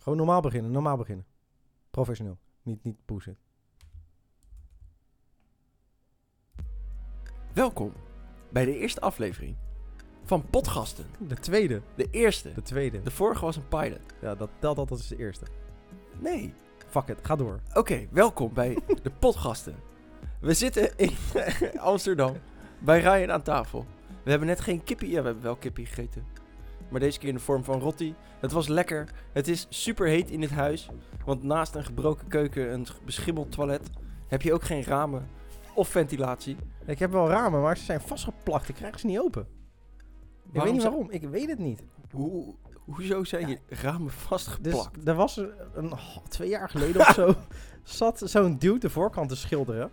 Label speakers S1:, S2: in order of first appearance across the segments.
S1: Gewoon normaal beginnen, normaal beginnen. Professioneel. Niet, niet pushen.
S2: Welkom bij de eerste aflevering van Podgasten.
S1: De tweede.
S2: De eerste.
S1: De tweede.
S2: De vorige was een pilot.
S1: Ja, dat telt altijd als de eerste.
S2: Nee.
S1: Fuck it, ga door.
S2: Oké, welkom bij de Podgasten. We zitten in Amsterdam bij Ryan aan tafel. We hebben net geen kippie. Ja, we hebben wel kippie gegeten. Maar deze keer in de vorm van rotti. Het was lekker. Het is super heet in dit huis. Want naast een gebroken keuken, een beschimmeld toilet, heb je ook geen ramen of ventilatie.
S1: Ik heb wel ramen, maar ze zijn vastgeplakt. Ik krijg ze niet open. Ik weet niet
S2: zou-
S1: waarom. Ik weet het niet.
S2: Hoe, hoezo zijn je ramen
S1: Dus
S2: vastgeplakt?
S1: er was er een, oh, twee jaar geleden of zo... zat zo'n dude de voorkant te schilderen.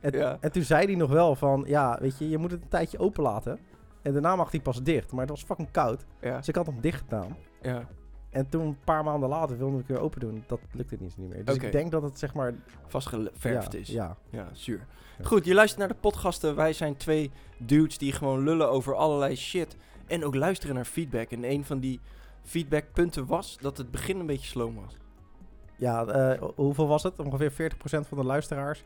S1: En,
S2: Ja.
S1: en toen zei hij nog wel van... Ja, weet je, je moet het een tijdje open laten. En daarna mag hij pas dicht. Maar het was fucking koud.
S2: Ja,
S1: Dus ik had hem dicht gedaan.
S2: ja.
S1: En toen een paar maanden later wilde ik weer open doen. Dat lukte niet, niet meer. Dus
S2: Oké.
S1: ik denk dat het zeg maar...
S2: vastgeverfd
S1: ja,
S2: is.
S1: Ja.
S2: Ja, zuur.
S1: Ja.
S2: Goed, je luistert naar de podcasten. Wij zijn twee dudes die gewoon lullen over allerlei shit. En ook luisteren naar feedback. En een van die feedbackpunten was dat het begin een beetje sloom was.
S1: Ja, eh, ho- hoeveel was het? Ongeveer 40% van de luisteraars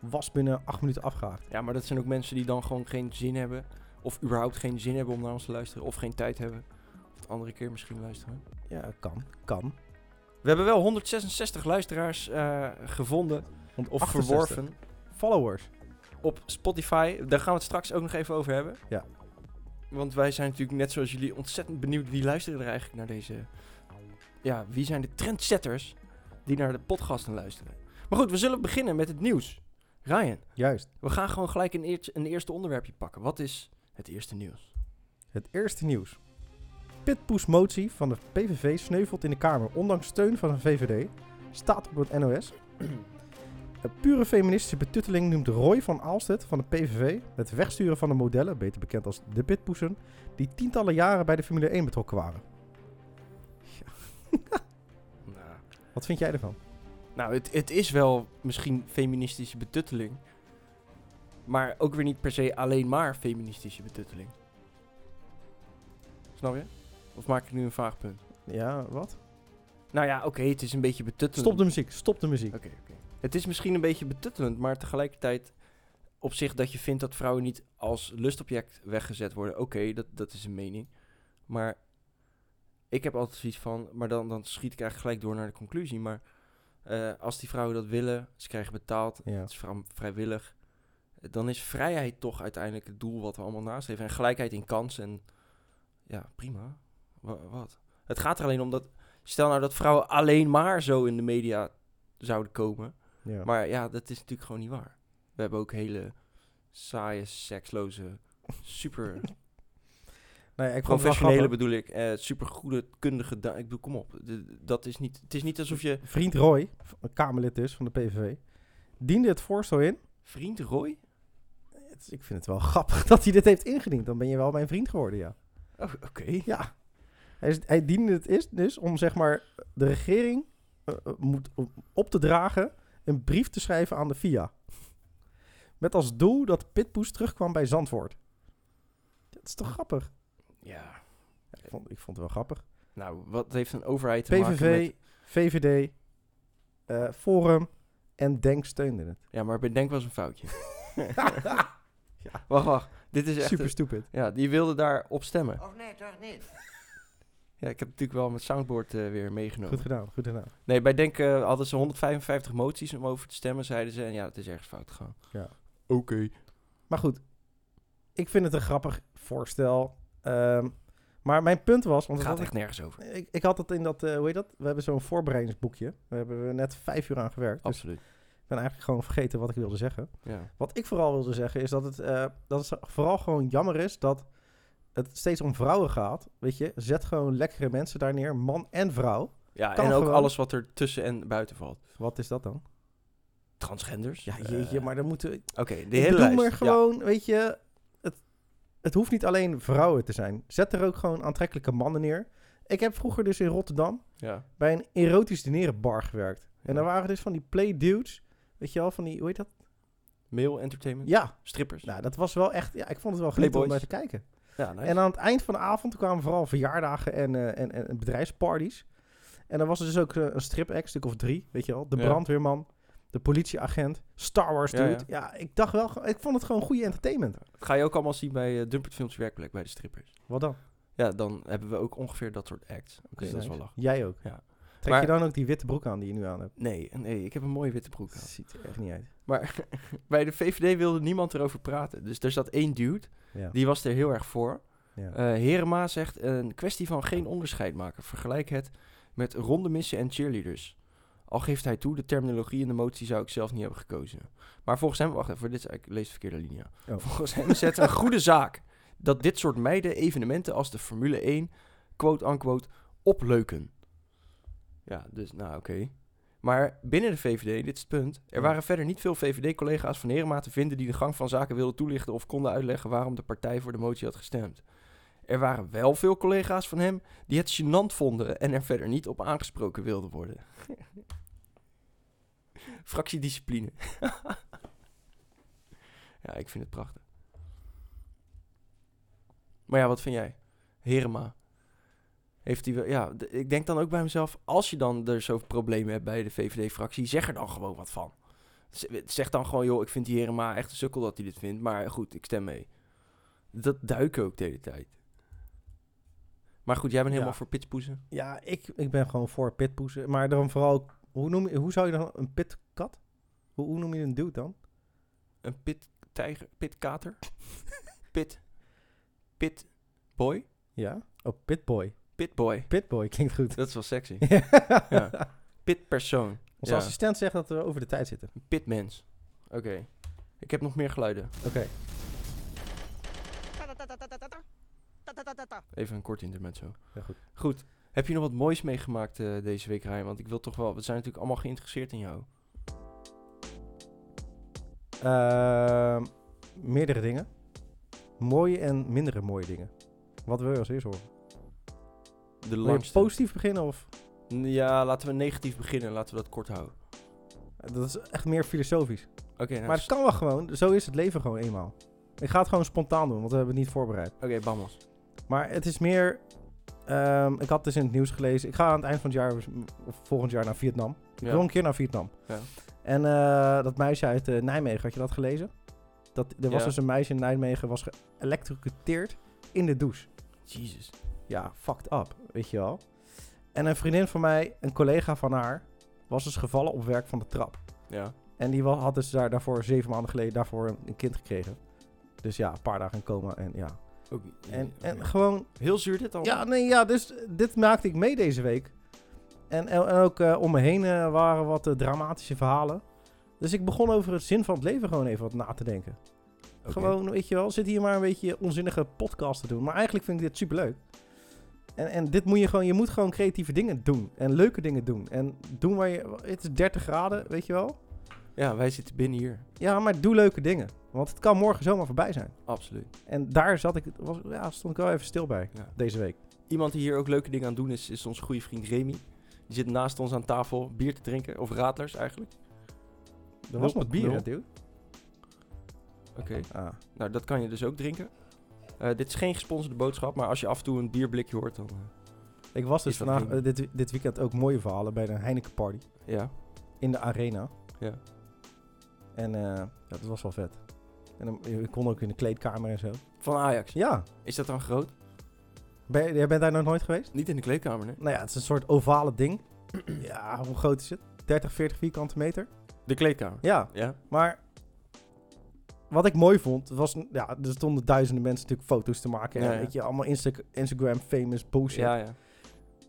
S1: was binnen 8 minuten afgehaakt.
S2: Ja, maar dat zijn ook mensen die dan gewoon geen zin hebben. Of überhaupt geen zin hebben om naar ons te luisteren. Of geen tijd hebben. Of de andere keer misschien luisteren.
S1: Ja, kan. Kan.
S2: We hebben wel 166 luisteraars eh, gevonden.
S1: Want
S2: Of
S1: 68
S2: verworven.
S1: Followers.
S2: op Spotify. Daar gaan we het straks ook nog even over hebben.
S1: Ja.
S2: Want wij zijn natuurlijk net zoals jullie ontzettend benieuwd wie luisteren er eigenlijk naar deze. Ja, wie zijn de trendsetters die naar de podcasten luisteren? Maar goed, we zullen beginnen met het nieuws. Ryan,
S1: Juist.
S2: we gaan gewoon gelijk een, eertje- een eerste onderwerpje pakken. Wat is het eerste nieuws?
S1: Het eerste nieuws. Pitpoesmotie van de PVV sneuvelt in de Kamer. Ondanks steun van de VVD. Staat op het NOS. Een pure feministische betutteling noemt Roy van Aalstedt van de PVV het wegsturen van de modellen, beter bekend als de pitpoesen, die tientallen jaren bij de Formule 1 betrokken waren.
S2: Nou,
S1: Wat vind jij ervan?
S2: nou het, het is wel misschien feministische betutteling. Maar ook weer niet per se alleen maar feministische betutteling. Snap je? Of maak ik nu een vaag punt?
S1: Ja, wat?
S2: Nou ja, oké, het is een beetje betuttelend.
S1: Stop de muziek, stop de muziek.
S2: Oké, oké. Het is misschien een beetje betuttelend, maar tegelijkertijd op zich dat je vindt dat vrouwen niet als lustobject weggezet worden. Oké, dat, dat is een mening. Maar ik heb altijd zoiets van, maar dan, dan schiet ik eigenlijk gelijk door naar de conclusie. Maar eh, als die vrouwen dat willen, ze krijgen betaald,
S1: Ja.
S2: het is vrou- vrijwillig. Dan is vrijheid toch uiteindelijk het doel wat we allemaal nastreven. En gelijkheid in kansen. En ja, prima. Wa- wat? Het gaat er alleen om dat. Stel nou dat vrouwen alleen maar zo in de media zouden komen.
S1: ja.
S2: Maar ja, dat is natuurlijk gewoon niet waar. We hebben ook hele saaie, seksloze, super
S1: nee, ik vond het wel
S2: professionele
S1: grappig.
S2: bedoel ik, eh super goede kundige. da- Ik bedoel, kom op. D- dat is niet, het is niet alsof je
S1: Vriend Roy, een Kamerlid dus van de PVV, diende het voorstel in.
S2: vriend Roy.
S1: Het is- Ik vind het wel grappig dat hij dit heeft ingediend. Dan ben je wel mijn vriend geworden, ja.
S2: Oh, Oké.
S1: Ja. Hij, is- hij diende het is dus om zeg maar de regering eh, eh, moet op- op te dragen een brief te schrijven aan de FIA. Met als doel dat Pitpoes terugkwam bij Zandvoort. Dat is toch grappig?
S2: Ja.
S1: Ik vond, ik vond het wel grappig.
S2: Nou, wat heeft een overheid te maken met
S1: PVV, VVD, eh, Forum en Denk steunden het.
S2: Ja, maar bedenk was een foutje. Wacht, wacht. Dit is echt...
S1: Super stupid.
S2: Ja, die wilde daar op stemmen.
S3: Of Oh, nee, toch niet?
S2: Ja, ik heb natuurlijk wel mijn soundboard eh, weer meegenomen.
S1: Goed gedaan, goed gedaan.
S2: Nee, bij Denk eh, hadden ze 155 moties om over te stemmen, zeiden ze. En ja, het is ergens fout gegaan.
S1: Ja.
S2: Oké.
S1: Maar goed, ik vind het een grappig voorstel. Ehm, maar mijn punt was... Want
S2: Het
S1: dat had
S2: gaat echt nergens over.
S1: ik, ik, ik had het in dat, eh, hoe heet dat? We hebben zo'n voorbereidingsboekje. Daar hebben we net vijf uur aan gewerkt. Dus
S2: Absoluut.
S1: ik ben eigenlijk gewoon vergeten wat ik wilde zeggen.
S2: Ja.
S1: Wat ik vooral wilde zeggen is dat het, eh, dat het vooral gewoon jammer is dat het steeds om vrouwen gaat. Weet je, zet gewoon lekkere mensen daar neer, man en vrouw.
S2: ja
S1: Kan
S2: en ook
S1: gewoon.
S2: alles wat er tussen en buiten valt.
S1: Wat is dat dan?
S2: Transgenders.
S1: Ja,
S2: eh,
S1: jeetje, maar dan moeten...
S2: Oké, de
S1: Ik
S2: hele
S1: bedoel
S2: lijst.
S1: maar
S2: Ja.
S1: gewoon, weet je, het, het hoeft niet alleen vrouwen te zijn. Zet er ook gewoon aantrekkelijke mannen neer. Ik heb vroeger dus in Rotterdam
S2: Ja.
S1: bij een erotisch dineren bar gewerkt. En
S2: Ja.
S1: daar waren dus van die play dudes, weet je wel, van die, hoe heet dat?
S2: Mail entertainment.
S1: Ja,
S2: Strippers.
S1: nou dat was wel echt, ja, ik vond het wel genieten om naar te
S2: Hm. Playboys.
S1: kijken.
S2: ja nice.
S1: En aan het eind van de avond kwamen vooral verjaardagen en, eh, en, en, en bedrijfsparties. En dan was er dus ook eh, een strip-act, stuk of drie, weet je wel. De
S2: Ja.
S1: brandweerman, de politieagent, Star Wars
S2: Ja,
S1: dude.
S2: ja.
S1: Ja, ik dacht wel, ge- ik vond het gewoon goede entertainment.
S2: Dat ga je ook allemaal zien bij eh Dumpert Films Werkplek bij de strippers.
S1: Wat dan?
S2: Ja, dan hebben we ook ongeveer dat soort acts. Oké,
S1: Dus
S2: dat is wel
S1: nice.
S2: lachen.
S1: Jij ook.
S2: Ja.
S1: Trek
S2: Maar-
S1: je dan ook die witte broek aan die je nu aan hebt?
S2: Nee, nee, ik heb een mooie witte broek aan.
S1: Dat ziet er echt niet uit.
S2: Maar bij de VVD wilde niemand erover praten. Dus er zat één dude,
S1: Ja.
S2: die was er heel erg voor.
S1: ja.
S2: Eh Herema zegt, een kwestie van geen onderscheid maken. Vergelijk het met ronde missen en cheerleaders. Al geeft hij toe, de terminologie en de motie zou ik zelf niet hebben gekozen. Maar volgens hem, wacht even, dit is, ik lees de verkeerde linia.
S1: Oh.
S2: Volgens hem is het een goede zaak dat dit soort meiden evenementen als de Formule 1, quote-unquote, opleuken. Ja, dus nou oké. Maar binnen de VVD, dit is het punt, er
S1: Ja.
S2: waren verder niet veel VVD-collega's van Herema te vinden die de gang van zaken wilden toelichten of konden uitleggen waarom de partij voor de motie had gestemd. Er waren wel veel collega's van hem die het gênant vonden en er verder niet op aangesproken wilden worden. Fractiediscipline. ja, ik vind het prachtig. Maar ja, wat vind jij? Herema. Heeft hij wel, ja, d- ik denk dan ook bij mezelf, als je dan er zo problemen hebt bij de VVD-fractie, zeg er dan gewoon wat van. Z- Zeg dan gewoon, joh, ik vind die Herema echt een sukkel dat hij dit vindt, maar goed, ik stem mee. Dat duiken ook de hele tijd. Maar goed, jij bent helemaal
S1: Ja.
S2: voor pitspoezen.
S1: Ja, ik, ik ben gewoon voor pitpoezen. Maar dan vooral, ook- hoe, noem je, hoe zou je dan een pitkat? Hoe, hoe noem je een dude dan?
S2: Een pit tijger, pitkater, pit, pit boy,
S1: Ja? Oh, pitboy.
S2: pitboy.
S1: Pitboy klinkt goed.
S2: Dat is wel sexy.
S1: ja.
S2: Pitpersoon,
S1: Onze
S2: Ja.
S1: assistent zegt dat we over de tijd zitten.
S2: een pitmens. Oké, ik heb nog meer geluiden.
S1: Oké.
S2: Even een kort intermezzo.
S1: Ja, goed.
S2: Goed, heb je nog wat moois meegemaakt eh, deze week, Ryan? Want ik wil toch wel, we zijn natuurlijk allemaal geïnteresseerd in jou.
S1: Ehm, meerdere dingen. Mooie en mindere mooie dingen. Wat wil je als eerst horen?
S2: De
S1: Wil je
S2: lunch.
S1: positief beginnen of...
S2: Ja, laten we negatief beginnen. Laten we dat kort houden.
S1: Dat is echt meer filosofisch.
S2: Oké, nou,
S1: Maar het kan wel gewoon. Zo is het leven gewoon eenmaal. Ik ga het gewoon spontaan doen, want we hebben het niet voorbereid.
S2: oké, bammels.
S1: Maar het is meer. ehm, ik had dus in het nieuws gelezen. Ik ga aan het eind van het jaar of volgend jaar naar Vietnam. Ik wil
S2: Ja.
S1: een keer naar Vietnam.
S2: Ja.
S1: En eh, dat meisje uit eh, Nijmegen, had je dat gelezen? Dat, er was
S2: Ja.
S1: dus een meisje in Nijmegen was geëlektrocuteerd in de douche.
S2: Jezus.
S1: Ja, fucked up, weet je wel. En een vriendin van mij, een collega van haar, was dus gevallen op werk van de trap.
S2: Ja.
S1: En die wa- had dus daar, daarvoor zeven maanden geleden daarvoor een, een kind gekregen. Dus ja, een paar dagen in coma en ja.
S2: Ook,
S1: En, en
S2: oké.
S1: gewoon
S2: heel zuur dit al.
S1: ja, nee, ja, dus dit maakte ik mee deze week. En, en, en ook eh, om me heen eh, waren wat eh, dramatische verhalen. Dus ik begon over het zin van het leven gewoon even wat na te denken.
S2: Oké.
S1: Gewoon, weet je wel, zit hier maar een beetje onzinnige podcast te doen. Maar eigenlijk vind ik dit superleuk. En, en dit moet je gewoon, je moet gewoon creatieve dingen doen. En leuke dingen doen. En doen waar je, het is 30 graden, weet je wel.
S2: Ja, wij zitten binnen hier.
S1: Ja, maar doe leuke dingen. Want het kan morgen zomaar voorbij zijn.
S2: Absoluut.
S1: En daar zat ik, was, ja, stond ik wel even stil bij
S2: Ja.
S1: deze week.
S2: Iemand die hier ook leuke dingen aan doen is, is onze goede vriend Remy. Die zit naast ons aan tafel bier te drinken. Of radlers eigenlijk.
S1: Er was
S2: Nul
S1: nog
S2: punt
S1: bier,
S2: nul.
S1: hè, dude.
S2: Oké.
S1: Ah.
S2: Nou, dat kan je dus ook drinken. Eh, dit is geen gesponsorde boodschap, maar als je af en toe een bierblikje hoort, dan... eh,
S1: Ik was dus
S2: Is dat
S1: vandaag,
S2: ding?
S1: eh, dit, dit weekend ook mooie verhalen bij de Heineken Party
S2: ja.
S1: in de arena.
S2: Ja.
S1: En eh, ja, dat was wel vet. En dan, je kon ook in de kleedkamer en zo.
S2: Van Ajax.
S1: Ja,
S2: Is dat dan groot?
S1: ben, je- jij bent daar nog nooit geweest?
S2: Niet in de kleedkamer, nee.
S1: Nou ja, het is een soort ovale ding. ja, hoe groot is het? 30, 40 vierkante meter?
S2: De kleedkamer.
S1: Ja,
S2: Ja.
S1: maar wat ik mooi vond, was, ja, er stonden duizenden mensen natuurlijk foto's te maken.
S2: Ja,
S1: en
S2: ja.
S1: weet je, allemaal Insta Instagram famous bullshit.
S2: Ja, ja.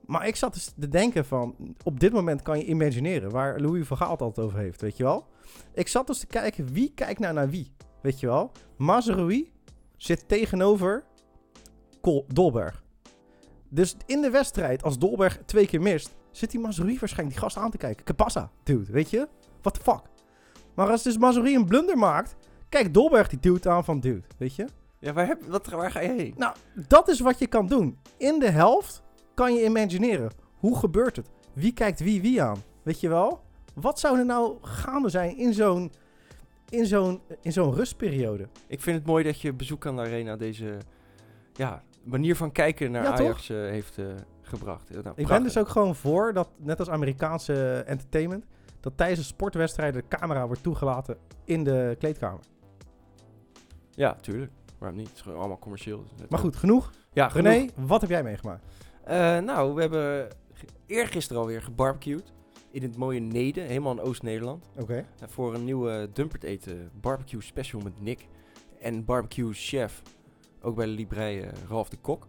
S1: Maar ik zat dus te denken van, op dit moment kan je imagineren waar Louis van Gaal het altijd over heeft, weet je wel? Ik zat dus te kijken, wie kijkt nou naar wie, weet je wel? Mazerui zit tegenover Col- Dolberg. Dus in de wedstrijd, als Dolberg twee keer mist, zit die Mazerui waarschijnlijk die gast aan te kijken. Kabassa, dude, weet je? What the fuck? Maar als dus Mazerui een blunder maakt, kijkt Dolberg die dude aan van dude, weet je?
S2: Ja, waar, heb, wat, waar ga je heen?
S1: Nou, dat is wat je kan doen. In de helft kan je imagineren. Hoe gebeurt het? Wie kijkt wie wie aan? Weet je wel? Wat zou er nou gaande zijn in zo'n in zo'n in zo'n rustperiode?
S2: Ik vind het mooi dat je bezoek aan de arena deze ja, manier van kijken naar
S1: Ja, toch?
S2: Ajax eh, heeft eh, gebracht. Nou,
S1: Ik ben
S2: prachtig.
S1: dus ook gewoon voor dat, net als Amerikaanse entertainment, dat tijdens een sportwedstrijd de camera wordt toegelaten in de kleedkamer.
S2: Ja, tuurlijk. Waarom niet? Het is gewoon allemaal commercieel. Dus net-
S1: Maar goed, genoeg.
S2: Ja, genoeg.
S1: René, wat heb jij meegemaakt?
S2: Eh, nou, we hebben ge- eergisteren alweer gebarbecued. In het mooie Nede, helemaal in Oost-Nederland.
S1: Oké.
S2: Eh, Voor een nieuwe Dumpert eten barbecue special met Nick. En barbecue chef, ook bij de Librei, eh, Ralf de Kok.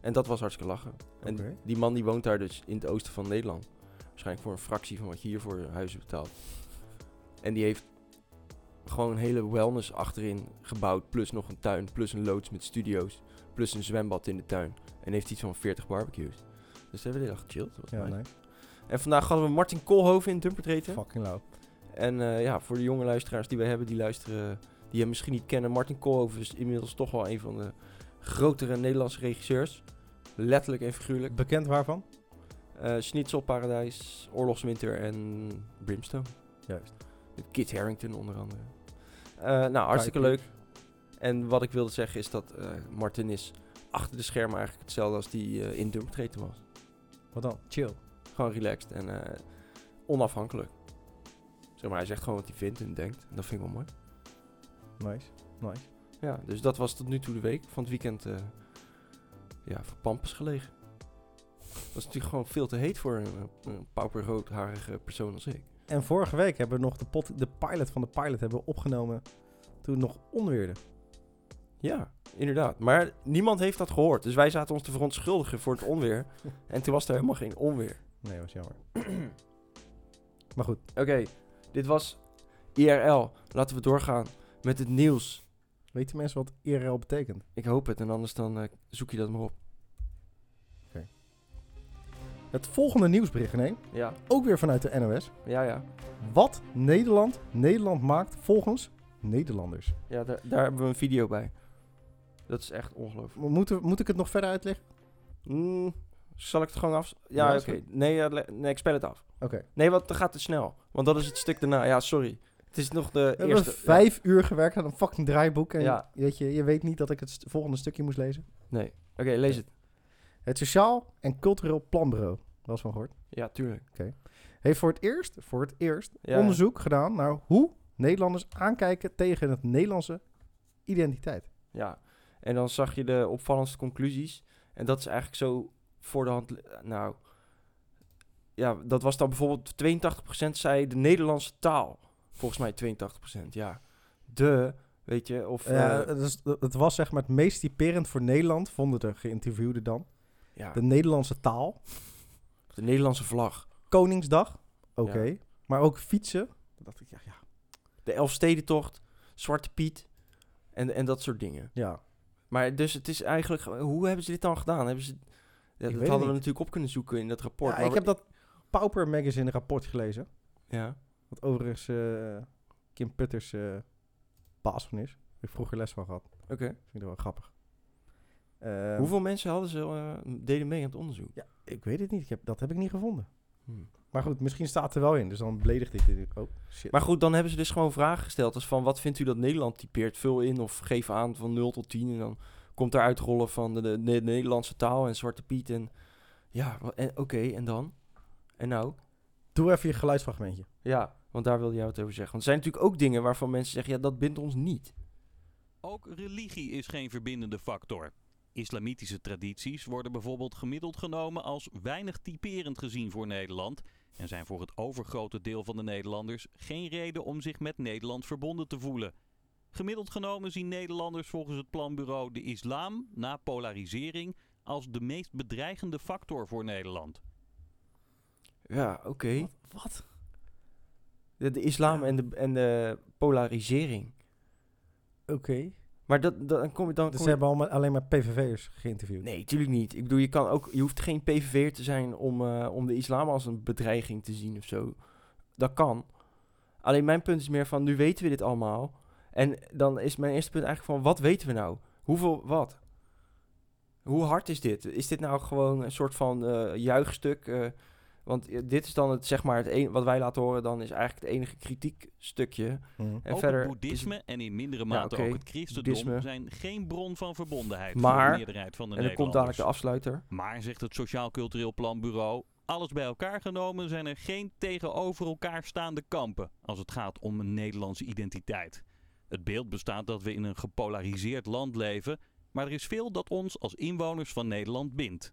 S2: En dat was hartstikke lachen. En
S1: Oké.
S2: die man die woont daar dus in het oosten van Nederland. Waarschijnlijk voor een fractie van wat je hier voor huizen betaalt. En die heeft gewoon een hele wellness achterin gebouwd. Plus nog een tuin, plus een loods met studio's. Plus een zwembad in de tuin. En heeft iets van 40 barbecues. Dus hebben we de dag gechilled. wat
S1: Ja,
S2: nice.
S1: nee.
S2: En vandaag hadden we Martin Koolhoven in Dumpert eten.
S1: Fucking low.
S2: En eh, ja, voor de jonge luisteraars die we hebben, die luisteren, die hem misschien niet kennen. Martin Koolhoven is inmiddels toch wel een van de grotere Nederlandse regisseurs. Letterlijk en figuurlijk.
S1: Bekend waarvan?
S2: Eh Schnitzelparadijs, Oorlogswinter en Brimstone.
S1: Juist.
S2: Met Kit Harrington onder andere. Eh, nou, hartstikke leuk. En wat ik wilde zeggen is dat eh, Martin is achter de schermen eigenlijk hetzelfde als die eh, in Dumptreten was.
S1: Wat dan? Chill.
S2: Gewoon relaxed en eh, onafhankelijk. Zeg maar, hij zegt gewoon wat hij vindt en denkt. En dat vind ik wel mooi.
S1: Nice. Nice.
S2: Ja, dus dat was tot nu toe de week. Van het weekend eh, ja, voor pampers gelegen. Dat is natuurlijk gewoon veel te heet voor een, een pauperroodharige persoon als ik.
S1: En vorige week hebben we nog de, pot, de pilot van de pilot hebben we opgenomen toen het nog onweerde.
S2: Ja, inderdaad. Maar niemand heeft dat gehoord. Dus wij zaten ons te verontschuldigen voor het onweer. En toen was er helemaal geen onweer.
S1: Nee, was jammer. maar goed,
S2: Oké, dit was IRL. Laten we doorgaan met het nieuws.
S1: weten mensen wat IRL betekent?
S2: Ik hoop het. En anders dan eh, zoek je dat maar op.
S1: Het volgende nieuwsbericht, René,
S2: Ja,
S1: ook weer vanuit de NOS.
S2: ja, ja.
S1: Wat Nederland Nederland maakt volgens Nederlanders.
S2: ja daar, daar hebben we een video bij. Dat is echt ongelooflijk.
S1: Moet, moet ik het nog verder uitleggen?
S2: Mm, zal ik het gewoon af... Ja,
S1: Ja,
S2: oké.
S1: is goed.
S2: Nee, ja, le- nee, ik spel het af.
S1: Oké.
S2: Nee, want dan gaat het snel. Want dat is het stuk daarna. Ja, sorry. Het is nog de
S1: We hebben
S2: eerste...
S1: vijf uur gewerkt aan een fucking draaiboek. En
S2: Ja.
S1: weet je, je weet niet dat ik het st- volgende stukje moest lezen.
S2: Nee. Oké, lees het.
S1: Het Sociaal en Cultureel Planbureau, dat is van gehoord,
S2: Ja, tuurlijk.
S1: heeft voor het eerst, voor het eerst
S2: Ja.
S1: onderzoek gedaan naar hoe Nederlanders aankijken tegen het Nederlandse identiteit.
S2: Ja, en dan zag je de opvallendste conclusies. En dat is eigenlijk zo voor de hand. li- Nou, ja, dat was dan bijvoorbeeld 82% zei de Nederlandse taal. Volgens mij 82%, ja. De, weet je, of...
S1: Ja,
S2: eh,
S1: het, is- het was zeg maar het meest typerend voor Nederland, vonden de geïnterviewden dan.
S2: ja,
S1: De
S2: de,
S1: Nederlandse taal,
S2: Nederlandse vlag.
S1: Koningsdag, oké.
S2: Ja.
S1: Maar ook fietsen. Dat dacht ik, ja, ja.
S2: De Elfstedentocht, Zwarte Piet en, en dat soort dingen.
S1: ja.
S2: Maar dus het is eigenlijk... Hoe hebben ze dit dan gedaan? Hebben ze... ja, dat
S1: weet het
S2: hadden we
S1: niet.
S2: natuurlijk op kunnen zoeken in dat rapport.
S1: Ja,
S2: maar
S1: ik
S2: we-
S1: heb dat Pauper Magazine rapport gelezen.
S2: Ja,
S1: Wat overigens eh, Kim Putters eh baas van is. Daar heb ik vroeger les van gehad.
S2: oké.
S1: Vind ik dat wel grappig. Ehm,
S2: Hoeveel mensen hadden ze, eh, deden mee aan het onderzoek?
S1: Ja, ik weet het niet. Ik heb, dat heb ik niet gevonden.
S2: Hmm.
S1: Maar goed, misschien staat er wel in. Dus dan beledigt ik dit. Oh, shit.
S2: Maar goed, dan hebben ze dus gewoon vragen gesteld. Als van, wat vindt u dat Nederland typeert? Vul in of geef aan van 0 tot 10. En dan komt er uitrollen van de, de- de Nederlandse taal en Zwarte Piet. En ja, wa- en- oké, en dan? En nou?
S1: Doe even je geluidsfragmentje.
S2: Ja, want daar wilde jij wat over zeggen. Want er zijn natuurlijk ook dingen waarvan mensen zeggen, ja, dat bindt ons niet.
S3: Ook religie is geen verbindende factor. Islamitische tradities worden bijvoorbeeld gemiddeld genomen als weinig typerend gezien voor Nederland en zijn voor het overgrote deel van de Nederlanders geen reden om zich met Nederland verbonden te voelen. Gemiddeld genomen zien Nederlanders volgens het planbureau de islam na polarisering als de meest bedreigende factor voor Nederland.
S2: Ja, oké. Wat? De, de islam en, de, en de polarisering.
S1: Oké.
S2: Maar dat, dat, dan kom je dan...
S1: Dus ze
S2: kom je-
S1: hebben allemaal, alleen maar PVV'ers geïnterviewd.
S2: Nee, tuurlijk niet. Ik bedoel, je, kan ook, je hoeft geen PVV'er te zijn om, eh, om de islam als een bedreiging te zien of zo. Dat kan. Alleen mijn punt is meer van, nu weten we dit allemaal. En dan is mijn eerste punt eigenlijk van, wat weten we nou? Hoeveel, wat? Hoe hard is dit? Is dit nou gewoon een soort van eh, juichstuk? eh, Want eh, dit is dan het, zeg maar, het een, wat wij laten horen dan is eigenlijk het enige kritiek-stukje.
S1: Mhm.
S2: En
S3: ook
S2: verder
S3: het boeddhisme en in mindere mate
S2: oké,
S3: ook het christendom
S2: boeddhisme.
S3: zijn geen bron van verbondenheid voor
S2: Maar-
S3: de meerderheid van de
S2: En dan komt dadelijk
S3: Nederlanders.
S2: de afsluiter.
S3: maar, zegt het Sociaal Cultureel Planbureau, alles bij elkaar genomen zijn er geen tegenover elkaar staande kampen als het gaat om een Nederlandse identiteit. Het beeld bestaat dat we in een gepolariseerd land leven, maar er is veel dat ons als inwoners van Nederland bindt.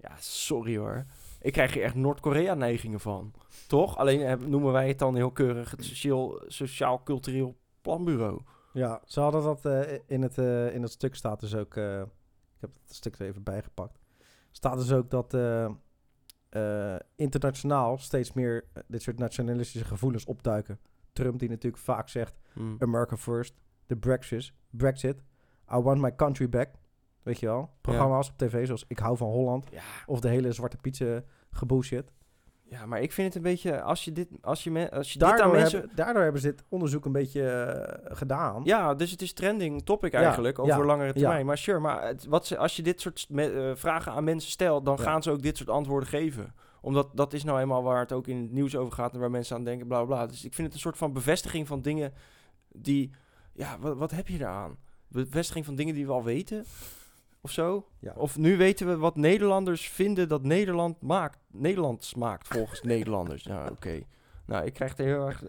S2: Ja, sorry hoor. Ik krijg hier echt Noord-Korea-neigingen van. Toch? Alleen eh, noemen wij het dan heel keurig het Sociaal- Sociaal-Cultureel Planbureau.
S1: Ja, ze hadden dat eh, in, het, eh, in het stuk staat dus ook. eh, ik heb het stuk er even bijgepakt. Staat dus ook dat eh, eh, internationaal steeds meer eh, dit soort nationalistische gevoelens opduiken. Trump, die natuurlijk vaak zegt:
S2: Hm.
S1: America first, de Brexit, Brexit, I want my country back. Weet je wel? Programma's op tv zoals Ik hou van Holland
S2: Ja,
S1: of de hele Zwarte Pietse gebullshit.
S2: ja, maar ik vind het een beetje... Als je dit, als je me- als je dit aan
S1: Daardoor,
S2: mensen...
S1: hebben, daardoor hebben ze dit onderzoek een beetje eh, gedaan.
S2: Ja, dus het is trending topic
S1: Ja,
S2: eigenlijk over
S1: ja,
S2: langere
S1: ja.
S2: termijn. Maar sure, maar het, wat ze, als je dit soort me- eh, vragen aan mensen stelt, dan
S1: Ja.
S2: gaan ze ook dit soort antwoorden geven. Omdat dat is nou eenmaal waar het ook in het nieuws over gaat en waar mensen aan denken, bla bla. bla. Dus ik vind het een soort van bevestiging van dingen die. Ja, wat, wat heb je eraan? Bevestiging van dingen die we al weten? Of zo?
S1: Ja.
S2: Of nu weten we wat Nederlanders vinden dat Nederland maakt. Nederlands maakt volgens Nederlanders. Nou, oké. Nou, ik krijg er heel erg.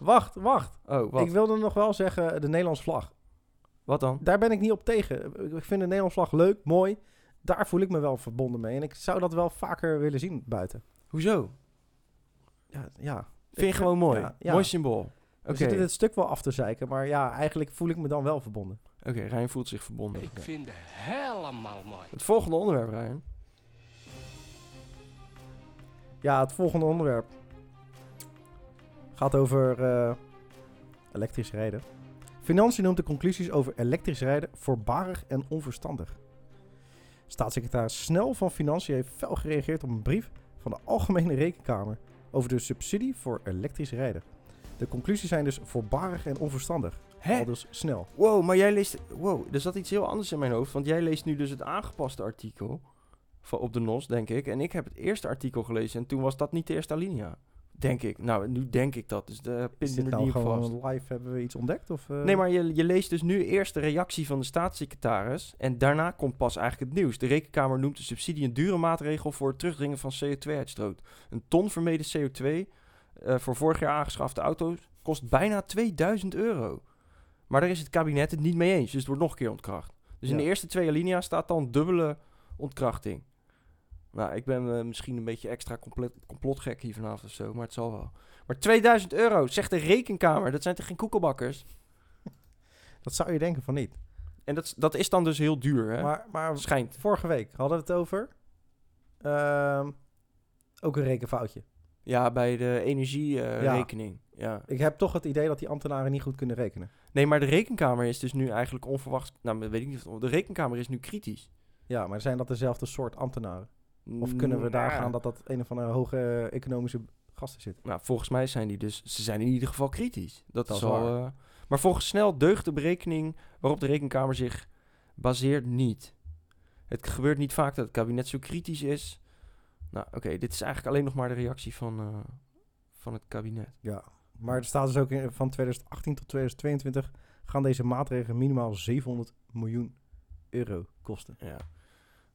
S1: Wacht, wacht.
S2: Oh, wat?
S1: Ik wilde nog wel zeggen, eh, de Nederlandse vlag.
S2: Wat dan?
S1: Daar ben ik niet op tegen. Ik vind de Nederlandse vlag leuk, mooi. Daar voel ik me wel verbonden mee. En ik zou dat wel vaker willen zien buiten.
S2: Hoezo?
S1: Ja, ja.
S2: Vind je
S1: Ik-
S2: gewoon mooi.
S1: ja, ja.
S2: Mooi symbool.
S1: We
S2: Oké,
S1: zitten dit stuk wel af te zeiken, maar ja, eigenlijk voel ik me dan wel verbonden.
S2: Oké, Rijn voelt zich verbonden.
S4: Ik vind het helemaal mooi.
S2: Het volgende onderwerp, Rijn.
S1: Ja, het volgende onderwerp gaat over eh, elektrisch rijden. Financiën noemt de conclusies over elektrisch rijden voorbarig en onverstandig. Staatssecretaris Snel van Financiën heeft fel gereageerd op een brief van de Algemene Rekenkamer over de subsidie voor elektrisch rijden. De conclusies zijn dus voorbarig en onverstandig. Al dus snel.
S2: Wow, maar jij leest... Wow, er zat iets heel anders in mijn hoofd. Want jij leest nu dus het aangepaste artikel van op de NOS, denk ik. En ik heb het eerste artikel gelezen en toen was dat niet de eerste alinea. Denk ik. Nou, nu denk ik dat. Dus de
S1: Is
S2: pin
S1: dit
S2: me er
S1: nou
S2: niet op
S1: gewoon
S2: vast.
S1: live? Hebben we iets ontdekt? Of, eh?
S2: Nee, maar je, je leest dus nu eerst de reactie van de staatssecretaris. En daarna komt pas eigenlijk het nieuws. De Rekenkamer noemt de subsidie een dure maatregel voor het terugdringen van CO2-uitstoot. Een ton vermeden CO2 eh, voor vorig jaar aangeschafte auto's kost bijna 2000 euro. Maar daar is het kabinet het niet mee eens. Dus het wordt nog een keer ontkracht. Dus in
S1: Ja.
S2: de eerste twee alinea's staat dan dubbele ontkrachting. Nou, ik ben eh, misschien een beetje extra complet, complotgek hier vanavond of zo, maar het zal wel. Maar 2000 euro, zegt de rekenkamer. Dat zijn toch geen koekelbakkers?
S1: Dat zou je denken van niet.
S2: En dat, is- dat is dan dus heel duur, hè?
S1: Maar, maar
S2: Schijnt.
S1: Vorige week hadden we het over. ehm, ook een rekenfoutje.
S2: Ja, bij de energierekening.
S1: Ja.
S2: rekening. ja.
S1: Ik heb toch het idee dat die ambtenaren niet goed kunnen rekenen.
S2: Nee, maar de rekenkamer is dus nu eigenlijk onverwacht... Nou, dat weet ik niet. of- De rekenkamer is nu kritisch.
S1: Ja, maar zijn dat dezelfde soort ambtenaren? Of kunnen we daar
S2: Nou Ja.
S1: gaan dat dat een of andere hoge eh, economische gasten zit?
S2: Nou, volgens mij zijn die dus... Ze zijn in ieder geval kritisch. Dat,
S1: Dat
S2: is
S1: is
S2: al... eh, maar volgens Snel deugt de berekening waarop de rekenkamer zich baseert niet. Het gebeurt niet vaak dat het kabinet zo kritisch is. Nou, oké. dit is eigenlijk alleen nog maar de reactie van, eh, van het kabinet.
S1: Ja. Maar er staat dus ook in, van 2018 tot 2022 gaan deze maatregelen minimaal 700 miljoen euro kosten.
S2: Ja.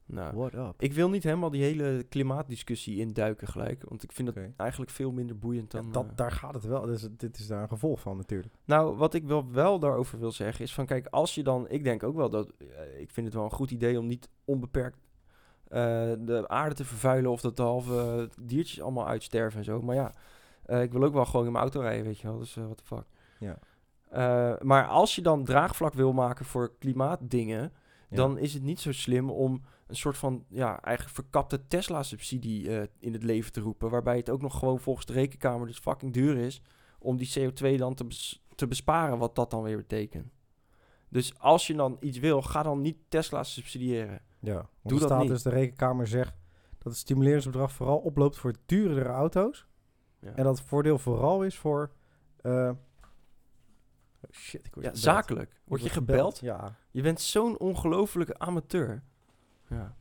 S2: Nou,
S1: What up?
S2: Ik wil niet helemaal die hele klimaatdiscussie induiken gelijk. Want ik vind dat
S1: Oké.
S2: eigenlijk veel minder boeiend dan...
S1: Ja, dat,
S2: eh,
S1: daar gaat het wel. Dus, dit is daar een gevolg van natuurlijk.
S2: Nou, wat ik wel, wel daarover wil zeggen is van... Kijk, als je dan... Ik denk ook wel dat... eh, ik vind het wel een goed idee om niet onbeperkt eh, de aarde te vervuilen... of dat de halve eh, diertjes allemaal uitsterven en zo. Maar ja, eh, ik wil ook wel gewoon in mijn auto rijden, weet je wel. Dus wat de fuck.
S1: Ja.
S2: Eh, maar als je dan draagvlak wil maken voor klimaatdingen...
S1: Ja.
S2: dan is het niet zo slim om een soort van ja, eigenlijk verkapte Tesla-subsidie eh, in het leven te roepen. Waarbij het ook nog gewoon volgens de rekenkamer dus fucking duur is om die CO2 dan te, bes- te besparen, wat dat dan weer betekent. Dus als je dan iets wil, ga dan niet Tesla subsidiëren.
S1: Ja, want
S2: Doe
S1: er
S2: dat
S1: staat
S2: niet.
S1: dus de rekenkamer zegt dat het stimuleringsbedrag vooral oploopt voor duurdere auto's.
S2: Ja.
S1: En dat het voordeel vooral is voor. eh, oh shit, ik word
S2: Ja,
S1: gebeld.
S2: zakelijk.
S1: Ik
S2: Word je
S1: gebeld?
S2: gebeld?
S1: Ja.
S2: Je bent zo'n ongelofelijke amateur. Ja.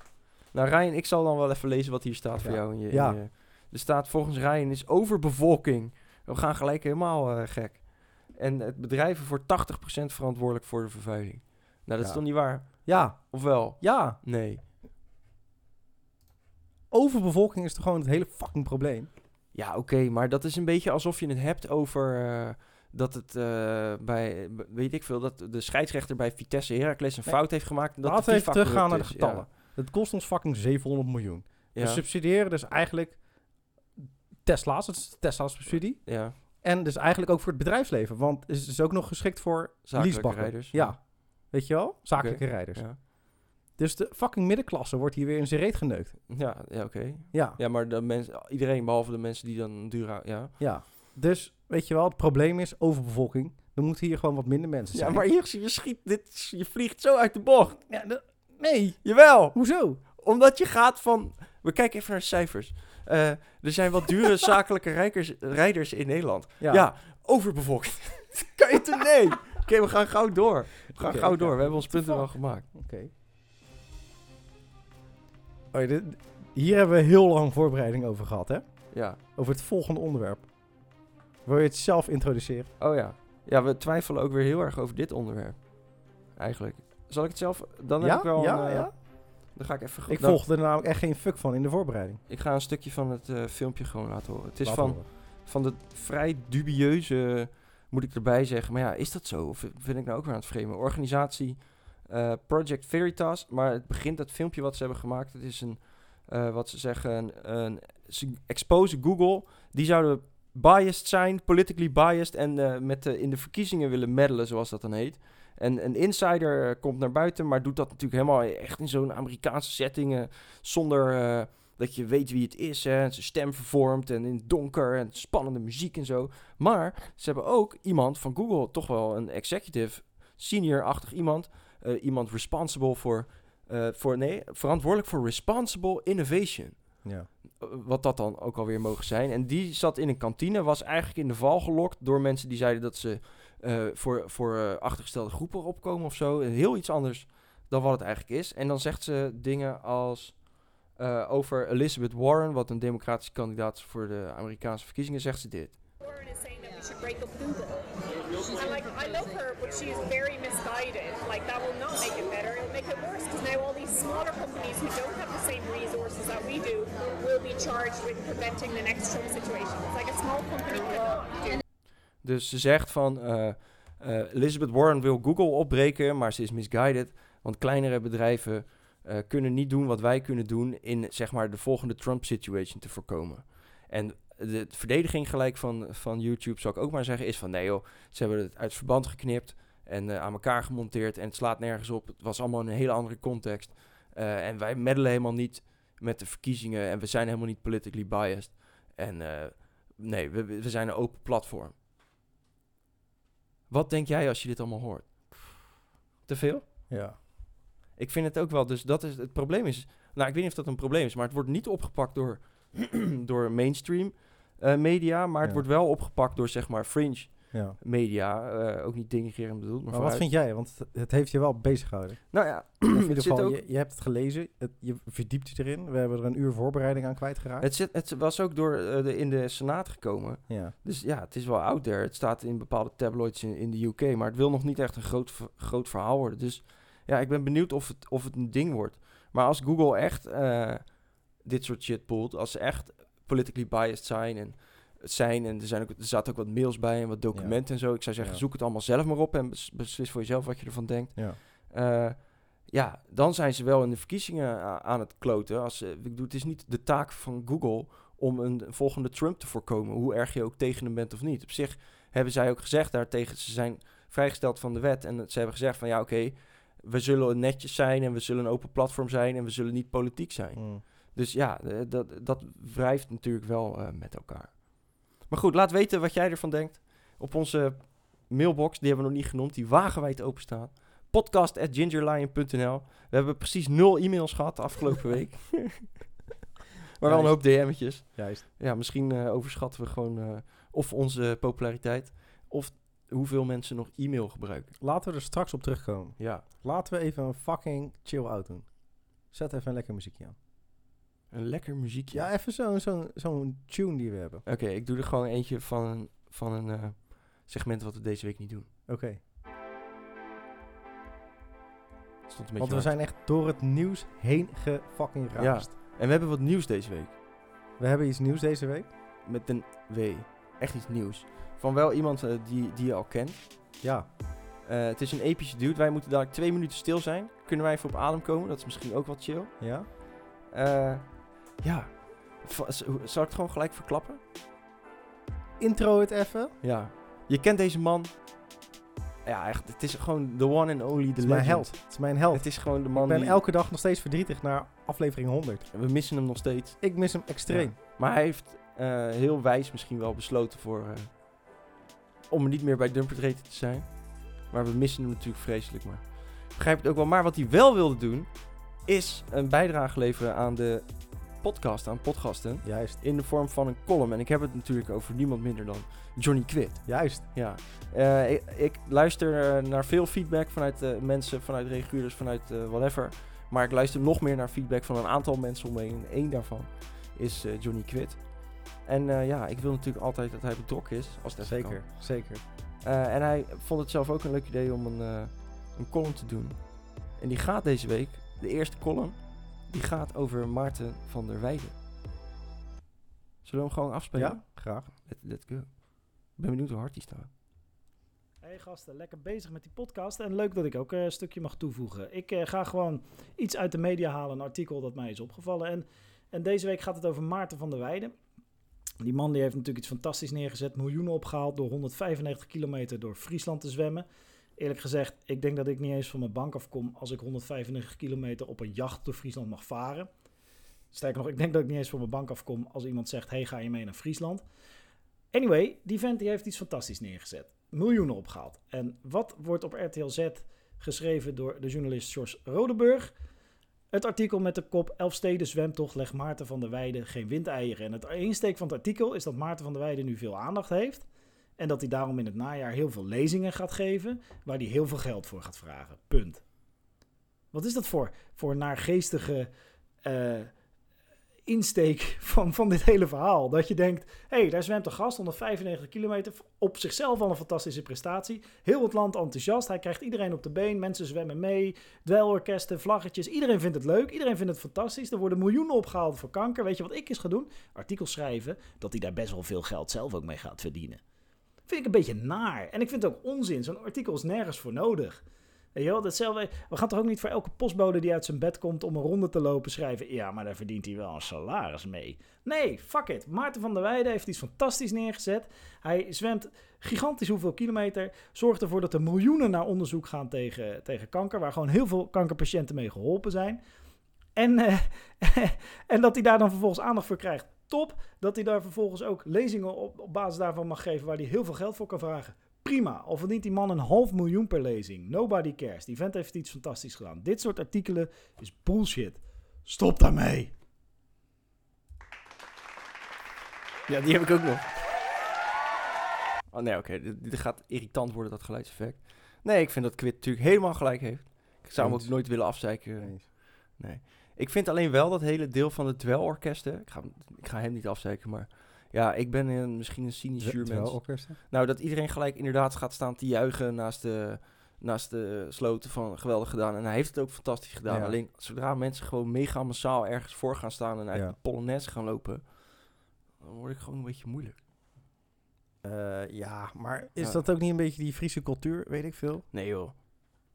S2: Nou, Ryan, ik zal dan wel even lezen wat hier staat voor
S1: Ja.
S2: jou. In je, in
S1: Ja.
S2: je- er staat volgens Ryan is overbevolking. We gaan gelijk helemaal eh, gek. En het bedrijven voor 80% verantwoordelijk voor de vervuiling. Nou, dat is
S1: Ja.
S2: toch niet waar?
S1: Ja,
S2: Of wel?
S1: ja.
S2: Nee.
S1: Overbevolking is toch gewoon het hele fucking probleem.
S2: Ja, oké, maar dat is een beetje alsof je het hebt over eh, dat het eh, bij, b- weet ik veel, dat de scheidsrechter bij Vitesse Heracles een
S1: Nee.
S2: fout heeft gemaakt. en Dat
S1: Laten
S2: de
S1: we even
S2: FIFA
S1: teruggaan naar de
S2: corrupt is.
S1: getallen. Het kost ons fucking 700 miljoen.
S2: Ja,
S1: We
S2: ja,
S1: subsidiëren dus eigenlijk Tesla's, het is Tesla's subsidie.
S2: ja.
S1: En dus eigenlijk ook voor het bedrijfsleven, want het is dus ook nog geschikt voor
S2: Zakelijke
S1: leasebakken.
S2: rijders.
S1: Ja, weet je wel? Zakelijke rijders.
S2: ja.
S1: Dus de fucking middenklasse wordt hier weer in zijn reet geneukt.
S2: ja, ja, oké.
S1: Ja, ja.
S2: Ja, maar de mensen, iedereen behalve de mensen die dan duur hou- ja.
S1: Dus weet je wel, het probleem is overbevolking. Er moeten hier gewoon wat minder mensen
S2: Ja,
S1: zijn.
S2: maar hier, je schiet, dit, je vliegt zo uit de bocht.
S1: Ja, de- nee,
S2: Jawel,
S1: hoezo?
S2: omdat je gaat van, we kijken even naar de cijfers. Eh, er zijn wat dure zakelijke rijkers- rijders in Nederland. Ja, overbevolkt. kan je te nee. Oké, we gaan gauw door. We gaan
S1: Oké,
S2: gauw
S1: ja.
S2: door. We hebben ons punten wel
S1: fuck?
S2: gemaakt.
S1: Oké. Oh ja, dit- hier hebben we heel lang voorbereiding over gehad, hè?
S2: Ja.
S1: Over het volgende onderwerp. Wil je het zelf introduceren?
S2: Oh ja. Ja, we twijfelen ook weer heel erg over dit onderwerp. Eigenlijk. Zal ik het zelf? Dan heb
S1: ja,
S2: ik wel.
S1: ja,
S2: een, eh,
S1: ja.
S2: Dan ga ik even.
S1: Ik
S2: dan-
S1: volgde er namelijk echt geen fuck van in de voorbereiding.
S2: Ik ga een stukje van het eh, filmpje gewoon laten horen. Het is
S1: Laat
S2: van,
S1: horen.
S2: van de vrij dubieuze, moet ik erbij zeggen. Maar ja, is dat zo? Of vind ik nou ook weer aan het vreemden? Organisatie eh, Project Veritas. Maar het begint dat filmpje wat ze hebben gemaakt. Het is een, eh, wat ze zeggen, een, een ze expose Google. Die zouden biased zijn, politically biased. En eh, met de, in de verkiezingen willen meddelen, zoals dat dan heet. En een insider eh, komt naar buiten, maar doet dat natuurlijk helemaal echt in zo'n Amerikaanse setting. eh, zonder eh, dat je weet wie het is. Hè, en zijn stem vervormt en in het donker en spannende muziek en zo. Maar ze hebben ook iemand van Google, toch wel een executive, senior-achtig iemand. eh, iemand responsible voor, eh, voor, nee, verantwoordelijk voor responsible innovation
S1: Ja.
S2: eh, wat dat dan ook alweer mogen zijn. En die zat in een kantine, was eigenlijk in de val gelokt door mensen die zeiden dat ze eh, voor, voor eh, achtergestelde groepen opkomen of zo. Heel iets anders dan wat het eigenlijk is. En dan zegt ze dingen als eh, over Elizabeth Warren, wat een democratische kandidaat is voor de Amerikaanse verkiezingen, zegt ze dit.
S5: Warren is saying that we should break up Google. I'm like, I love her, but she is very misguided. Like, that will not make it better. It'll make it worse because now all these smaller companies who don't have the same resources that we do will be charged with preventing the next Trump situation. It's like a small company cannot do
S2: Dus ze zegt van eh, eh, Elizabeth Warren wil Google opbreken, maar ze is misguided. Want kleinere bedrijven eh, kunnen niet doen wat wij kunnen doen in zeg maar de volgende Trump situation te voorkomen. En de verdediging gelijk van, van YouTube zou ik ook maar zeggen is van nee joh, ze hebben het uit verband geknipt en eh, aan elkaar gemonteerd en het slaat nergens op. Het was allemaal in een hele andere context. Eh, en wij meddelen helemaal niet met de verkiezingen en we zijn helemaal niet politically biased. En eh, nee, we, we zijn een open platform. Wat denk jij als je dit allemaal hoort? Te veel?
S1: ja.
S2: Ik vind het ook wel, dus dat is het probleem is. Nou, ik weet niet of dat een probleem is, maar het wordt niet opgepakt door, door mainstream eh, media, maar het
S1: Ja.
S2: wordt wel opgepakt door zeg maar fringe
S1: ja.
S2: media. eh, ook niet denigrerend bedoeld, maar,
S1: Maar wat
S2: vooruit.
S1: vind jij? Want het- het heeft je wel bezig gehouden.
S2: Nou ja,
S1: In
S2: het
S1: ieder
S2: zit
S1: geval,
S2: ook.
S1: je, je hebt het gelezen, het- je verdiept je erin. We hebben er een uur voorbereiding aan kwijtgeraakt.
S2: Het, zit, het was ook door eh, de, in de Senaat gekomen.
S1: ja.
S2: Dus ja, het is wel out there. Het staat in bepaalde tabloids in, in de UK, maar het wil nog niet echt een groot, ver- groot verhaal worden. Dus ja, ik ben benieuwd of het, of het een ding wordt. Maar als Google echt eh, dit soort shit poelt, als ze echt politically biased zijn en zijn en er, zijn ook, er zaten ook wat mails bij en wat documenten en zo. Ik zou zeggen,
S1: Ja.
S2: zoek het allemaal zelf maar op en bes- beslis voor jezelf wat je ervan denkt.
S1: Ja.
S2: Eh, ja, dan zijn ze wel in de verkiezingen a- aan het kloten. Als, ze- ik bedoel, het is niet de taak van Google om een volgende Trump te voorkomen, hoe erg je ook tegen hem bent of niet. Op zich hebben zij ook gezegd daartegen, ze zijn vrijgesteld van de wet en ze hebben gezegd van ja, oké, we zullen netjes zijn en we zullen een open platform zijn en we zullen niet politiek zijn.
S1: Mm.
S2: Dus ja, eh, dat, dat wrijft natuurlijk wel eh, met elkaar. Maar goed, laat weten wat jij ervan denkt. Op onze mailbox, die hebben we nog niet genoemd, die wagenwijd openstaan. Podcast at gingerlion.nl. We hebben precies nul e-mails gehad de afgelopen week. maar wel een hoop DM'tjes.
S1: Juist.
S2: Ja, misschien eh, overschatten we gewoon eh, of onze populariteit... of hoeveel mensen nog e-mail gebruiken.
S1: Laten we er straks op terugkomen.
S2: Ja.
S1: Laten we even een fucking chill out doen. Zet even een lekker muziekje aan.
S2: Een lekker muziekje.
S1: Ja, even zo'n zo'n zo'n tune die we hebben.
S2: Oké, ik doe er gewoon eentje van, een- van een eh, segment wat we deze week niet doen.
S1: Oké.
S2: Stond een beetje
S1: Want we
S2: hard.
S1: zijn echt door het nieuws heen gefucking raast.
S2: En we hebben wat nieuws deze week.
S1: We hebben iets nieuws deze week.
S2: Met een W. Echt iets nieuws. Van wel iemand eh, die, die je al kent.
S1: Ja.
S2: Eh, het is een epische dude. Wij moeten dadelijk twee minuten stil zijn. Kunnen wij even op adem komen? Dat is misschien ook wat chill.
S1: Ja?
S2: Eh, ja. Va- z- hoe- zal ik het gewoon gelijk verklappen?
S1: Intro het even.
S2: Ja. Je kent deze man. Ja, echt. Het is gewoon the one and only,
S1: Het
S2: the
S1: is mijn
S2: legend.
S1: held. Het is mijn held.
S2: Het is gewoon de man
S1: Ik ben
S2: die...
S1: elke dag nog steeds verdrietig naar aflevering 100.
S2: We missen hem nog steeds.
S1: Ik mis hem extreem.
S2: Maar hij heeft eh, heel wijs misschien wel besloten voor... eh, om niet meer bij Dumper Trade te zijn. Maar we missen hem natuurlijk vreselijk. Maar ik begrijp het ook wel. Maar wat hij wel wilde doen... is een bijdrage leveren aan de podcast, aan podcasten.
S1: Juist.
S2: In de vorm van een column. En ik heb het natuurlijk over niemand minder dan Johnny Quid.
S1: Juist.
S2: Ja, Eh, ik, ik luister eh, naar veel feedback vanuit eh, mensen, vanuit reguliers, vanuit eh, whatever. Maar ik luister nog meer naar feedback van een aantal mensen om me heen. En één daarvan is eh, Johnny Quid. En eh, ja, ik wil natuurlijk altijd dat hij betrokken is. Als dat
S1: Zeker.
S2: kan.
S1: Zeker.
S2: Eh, en hij vond het zelf ook een leuk idee om een, eh, een column te doen. En die gaat deze week, de eerste column, die gaat over Maarten van der Weijden. Zullen we hem gewoon afspelen?
S1: Ja? Graag.
S2: Let, let go. Ik ben benieuwd hoe hard die staat.
S6: Hey gasten, lekker bezig met die podcast. En leuk dat ik ook eh, een stukje mag toevoegen. Ik eh, ga gewoon iets uit de media halen, een artikel dat mij is opgevallen. En, en deze week gaat het over Maarten van der Weijden. Die man die heeft natuurlijk iets fantastisch neergezet. Miljoenen opgehaald door 195 kilometer door Friesland te zwemmen. Eerlijk gezegd, ik denk dat ik niet eens van mijn bank afkom als ik 195 kilometer op een jacht door Friesland mag varen. Sterker nog, ik denk dat ik niet eens van mijn bank afkom als iemand zegt, hey ga je mee naar Friesland? Anyway, die vent die heeft iets fantastisch neergezet miljoenen opgehaald. En wat wordt op RTL Z geschreven door de journalist George Rodeburg? Het artikel met de kop Elfsteden zwemtocht legt Maarten van der Weijden geen windeieren. En het insteek van het artikel is dat Maarten van der Weijden nu veel aandacht heeft. En dat hij daarom in het najaar heel veel lezingen gaat geven, waar hij heel veel geld voor gaat vragen. Punt. Wat is dat voor, voor naargeestige eh, insteek van, van dit hele verhaal? Dat je denkt, hé, hey, daar zwemt een gast 195 kilometer. Op zichzelf al een fantastische prestatie. Heel het land enthousiast. Hij krijgt iedereen op de been. Mensen zwemmen mee. Dweilorkesten, vlaggetjes. Iedereen vindt het leuk. Iedereen vindt het fantastisch. Er worden miljoenen opgehaald voor kanker. Weet je wat ik eens ga doen? Artikels schrijven dat hij daar best wel veel geld zelf ook mee gaat verdienen. Vind ik een beetje naar. En ik vind het ook onzin. Zo'n artikel is nergens voor nodig. Weet je wel, datzelfde. We gaan toch ook niet voor elke postbode die uit zijn bed komt om een ronde te lopen schrijven. Ja, maar daar verdient hij wel een salaris mee. Nee, fuck it. Maarten van der Weijden heeft iets fantastisch neergezet. Hij zwemt gigantisch hoeveel kilometer. Zorgt ervoor dat er miljoenen naar onderzoek gaan tegen, tegen kanker. Waar gewoon heel veel kankerpatiënten mee geholpen zijn. En, eh, en dat hij daar dan vervolgens aandacht voor krijgt. Top. Dat hij daar vervolgens ook lezingen op, op basis daarvan mag geven. Waar hij heel veel geld voor kan vragen. Prima. Al verdient die man een half miljoen per lezing. Nobody cares. Die vent heeft iets fantastisch gedaan. Dit soort artikelen is bullshit. Stop daarmee.
S2: Ja, die heb ik ook nog. Oh nee, oké. Dit, dit gaat irritant worden, dat geluidseffect. Nee, ik vind dat Quid natuurlijk helemaal gelijk heeft. Ik zou hem
S1: Eens.
S2: ook nooit willen afzeiken.
S1: Eens.
S2: Ik vind alleen wel dat hele deel van het dwelorkesten... Ik ga, hem- ik ga hem niet afzeiken, maar... Ja, ik ben een, misschien een cynisch
S1: Terwijl
S2: zuur mens.
S1: orkesten.
S2: Nou, dat iedereen gelijk inderdaad gaat staan te juichen naast de, naast de sloten van geweldig gedaan. En hij heeft het ook fantastisch gedaan.
S1: Ja.
S2: Alleen zodra mensen gewoon mega massaal ergens voor gaan staan en uit
S1: Ja.
S2: de polonaise gaan lopen... Dan word ik gewoon een beetje moeilijk.
S1: Eh, ja, maar is
S2: Ja. Oh.
S1: dat ook niet een beetje die Friese cultuur? Weet ik veel.
S2: Nee joh. Dat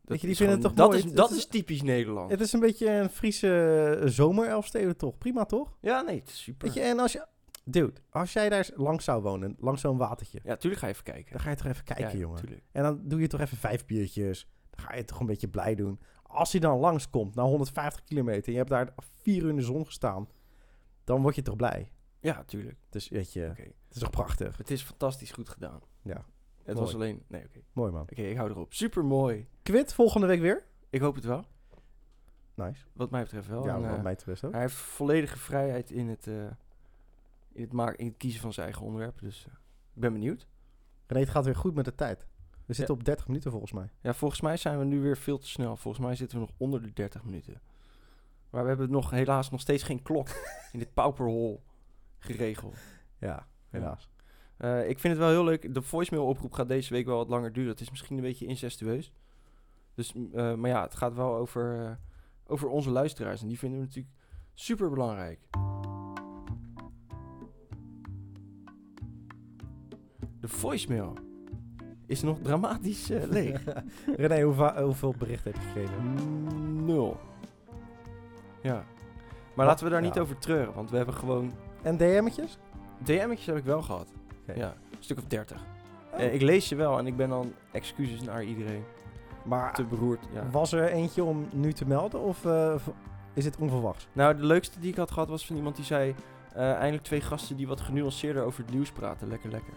S1: Weet je, die
S2: is
S1: vinden het toch
S2: gewoon- dat
S1: mooi?
S2: Is,
S1: Het-
S2: dat
S1: het
S2: is
S1: is-
S2: typisch Nederland.
S1: Het is een beetje een Friese eh, zomerelfsteden toch? Prima toch?
S2: ja, nee, het is super.
S1: Weet je, en als je... Dude, als jij daar langs zou wonen, langs zo'n watertje.
S2: Ja, tuurlijk ga je even kijken.
S1: Dan ga je toch even kijken,
S2: ja,
S1: jongen.
S2: tuurlijk.
S1: En dan doe je toch even vijf biertjes. Dan ga je toch een beetje blij doen. Als hij dan langskomt, na 150 kilometer... en je hebt daar vier uur in de zon gestaan... dan word je toch blij.
S2: Ja, tuurlijk.
S1: Dus weet je,
S2: Oké.
S1: het is toch prachtig.
S2: Het is fantastisch goed gedaan.
S1: Ja.
S2: Het
S1: Mooi.
S2: was alleen... Nee, oké.
S1: Mooi, man.
S2: Oké, ik hou erop. Super mooi.
S1: Quit volgende week weer.
S2: Ik hoop het wel.
S1: Nice.
S2: Wat mij betreft wel.
S1: ja,
S2: En,
S1: wat
S2: eh,
S1: mij betreft ook.
S2: Hij heeft volledige vrijheid in het, eh, in, het maken, in het kiezen van zijn eigen onderwerp. Dus eh, ik ben benieuwd.
S1: René, het gaat weer goed met de tijd. We zitten op 30 minuten volgens mij.
S2: Ja, volgens mij zijn we nu weer veel te snel. Volgens mij zitten we nog onder de 30 minuten. Maar we hebben nog helaas nog steeds geen klok in dit pauperhol geregeld.
S1: Ja, helaas.
S2: Eh, ik vind het wel heel leuk. De voicemail-oproep gaat deze week wel wat langer duren. Het is misschien een beetje incestueus. Dus, m, eh, maar ja, het gaat wel over, eh, over onze luisteraars. En die vinden we natuurlijk super belangrijk. De voicemail is nog dramatisch eh, leeg.
S1: René, hoe va- hoeveel berichten heb je gekregen?
S2: Nul. Ja. Maar laten we daar niet
S1: Ja.
S2: over treuren, want we hebben gewoon.
S1: En DM'tjes?
S2: DM'tjes heb ik wel gehad.
S1: Oké. Oh.
S2: Ja, een stuk of 30. Eh, ik lees je wel en ik ben dan excuses naar iedereen.
S1: Maar
S2: Te beroerd. Ja.
S1: was er eentje om nu te melden of eh, v- is het onverwachts?
S2: Nou, de leukste die ik had gehad was van iemand die zei. eh, eindelijk twee gasten die wat genuanceerder over het nieuws praten. Lekker, lekker.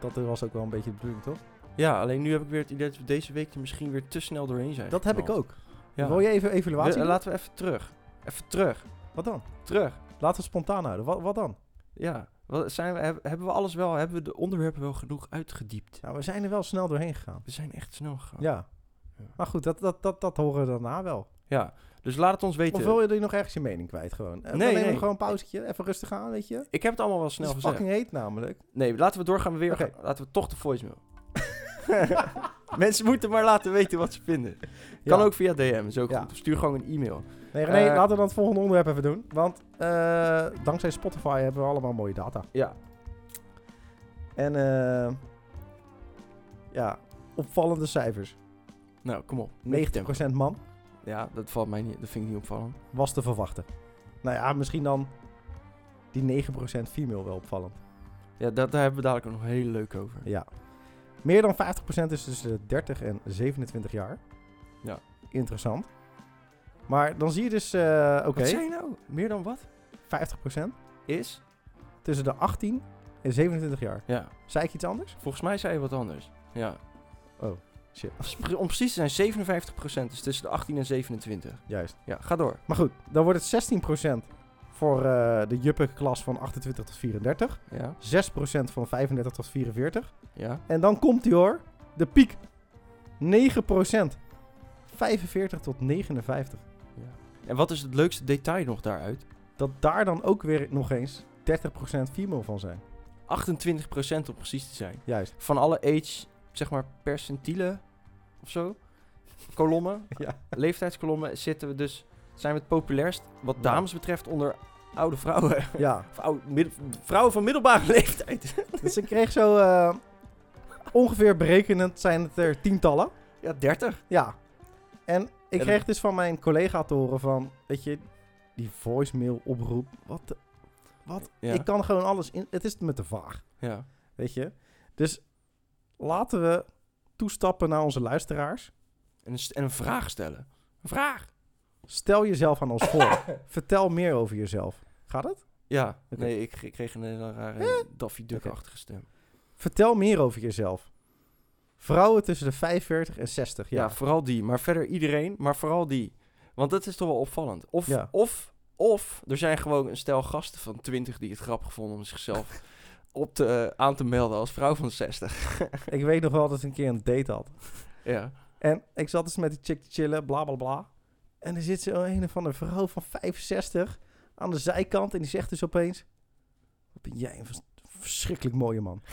S1: Dat was ook wel een beetje de bedoeling, toch?
S2: Ja, alleen nu heb ik weer het idee dat we deze week er misschien weer te snel doorheen zijn.
S1: Dat heb ik
S2: geknald.
S1: ook.
S2: Ja.
S1: Wil je even
S2: We-
S1: evaluatie
S2: eh,
S1: doen?
S2: laten we even terug. Even terug.
S1: Wat dan?
S2: Terug.
S1: Laten we spontaan houden. Wat, wat dan?
S2: Ja. Wat zijn we, heb- hebben we alles wel? Hebben we de onderwerpen wel genoeg uitgediept?
S1: Nou, we zijn er wel snel doorheen gegaan.
S2: We zijn echt snel gegaan.
S1: Ja. Maar goed, dat, dat, dat, dat horen we daarna wel.
S2: Ja, dus laat het ons weten.
S1: Of wil je er nog ergens je mening kwijt gewoon? Eh,
S2: Nee,
S1: dan nemen we
S2: nee.
S1: gewoon een pauzetje. Even rustig aan, weet je.
S2: Ik heb het allemaal wel snel
S1: het is
S2: gezegd.
S1: fucking heet namelijk.
S2: Nee, laten we doorgaan. Weer
S1: Oké.
S2: Laten we toch de voicemail. Mensen moeten maar laten weten wat ze vinden. Kan
S1: Ja.
S2: ook via DM, is ook
S1: Ja.
S2: goed. Stuur gewoon een e-mail.
S1: Nee, René,
S2: Eh,
S1: laten we dan het volgende onderwerp even doen. Want eh, dankzij Spotify hebben we allemaal mooie data.
S2: Ja.
S1: En eh, ja, opvallende cijfers.
S2: Nou, kom op.
S1: 90% man
S2: Ja, dat valt mij niet. Dat vind ik niet opvallend.
S1: was te verwachten. Nou ja, misschien dan die 9% female wel opvallend.
S2: Ja, daar, daar hebben we dadelijk ook nog heel leuk over.
S1: Ja. Meer dan 50% is tussen de 30 en 27 jaar.
S2: Ja.
S1: Interessant. Maar dan zie je dus, eh, oké,
S2: Wat zei je nou? Meer dan wat?
S1: 50%
S2: Is?
S1: tussen de 18 en 27 jaar.
S2: Ja.
S1: Zei ik iets anders?
S2: Volgens mij zei je wat anders. Ja.
S1: Oh, shit.
S2: Als- Om precies te zijn, 57% is tussen de 18 en 27.
S1: Juist.
S2: Ja, ga door.
S1: Maar goed, dan wordt het 16% voor eh, de juppe klas van 28 tot 34.
S2: Ja,
S1: 6% van 35 tot 44.
S2: ja.
S1: En dan komt die hoor, de piek. 9%. 45 tot 59.
S2: En wat is het leukste detail nog daaruit?
S1: dat daar dan ook weer nog eens 30% female van zijn.
S2: 28% om precies te zijn.
S1: Juist.
S2: Van alle age, zeg maar percentielen of zo, kolommen,
S1: Ja.
S2: leeftijdskolommen, zitten we dus, zijn we het populairst wat dames betreft onder oude vrouwen.
S1: Ja.
S2: Of oude, midden- vrouwen van middelbare leeftijd.
S1: Dus ik kreeg zo eh, ongeveer berekenend zijn het er tientallen.
S2: Ja, 30.
S1: Ja. En ik
S2: dat-
S1: kreeg dus van mijn collega te horen van, weet je, die voicemail oproep. Wat de-
S2: Ja.
S1: Ik kan gewoon alles in. Het is me te vaag,
S2: ja.
S1: weet je. Dus laten we toestappen naar onze luisteraars.
S2: En, een, st- en een vraag stellen. Een vraag.
S1: Stel jezelf aan ons voor. Vertel meer over jezelf. Gaat het?
S2: Ja,
S1: Oké.
S2: nee, ik, ik kreeg een hele rare Daffy Duck-achtige stem.
S1: Vertel meer over jezelf. Vrouwen tussen de 45 en 60
S2: Ja,
S1: jaar.
S2: vooral die. Maar verder iedereen, maar vooral die. Want dat is toch wel opvallend. Of,
S1: Ja.
S2: of, of er zijn gewoon een stel gasten van 20 die het grappig vonden om zichzelf op te, eh, aan te melden als vrouw van 60.
S1: Ik weet nog wel dat ik een keer een date had.
S2: Ja.
S1: En ik zat dus met die chick te chillen, bla bla bla. En er zit zo een of andere vrouw van 65 aan de zijkant. En die zegt dus opeens: Wat ben jij een vers- verschrikkelijk mooie man.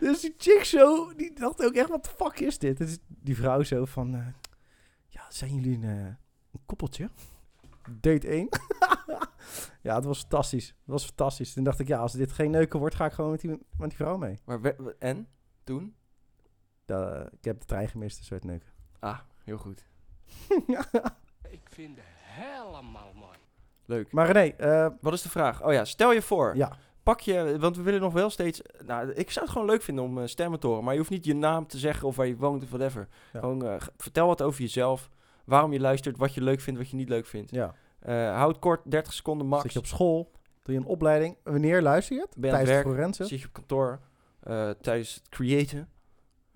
S1: dus die chick zo, die dacht ook echt: Wat de fuck is dit? Dus die vrouw zo van: eh, Ja, zijn jullie een, eh, een koppeltje? Date 1. ja, het was fantastisch. Het was fantastisch. Toen dacht ik: Ja, als dit geen neuken wordt, ga ik gewoon met die, met die vrouw mee.
S2: Maar we- we- en? Toen?
S1: Da- ik heb de trein gemist, dus werd neuken.
S2: Ah, heel goed.
S4: Ik vind het helemaal mooi.
S2: Leuk.
S1: Maar René, eh,
S2: Wat is de vraag? Oh ja, stel je voor.
S1: ja,
S2: Pak je, want we willen nog wel steeds... Nou, ik zou het gewoon leuk vinden om eh, stemmen te horen. Maar je hoeft niet je naam te zeggen of waar je woont of whatever.
S1: Ja.
S2: Gewoon eh, g- vertel wat over jezelf. Waarom je luistert, wat je leuk vindt, wat je niet leuk vindt.
S1: ja.
S2: Eh, houd kort, 30 seconden max.
S1: zit je op school, doe je een opleiding. Wanneer luister je het?
S2: Ben aan het
S1: Tijdens
S2: werk.
S1: de forense.
S2: Zit je op kantoor eh, tijdens het creëren.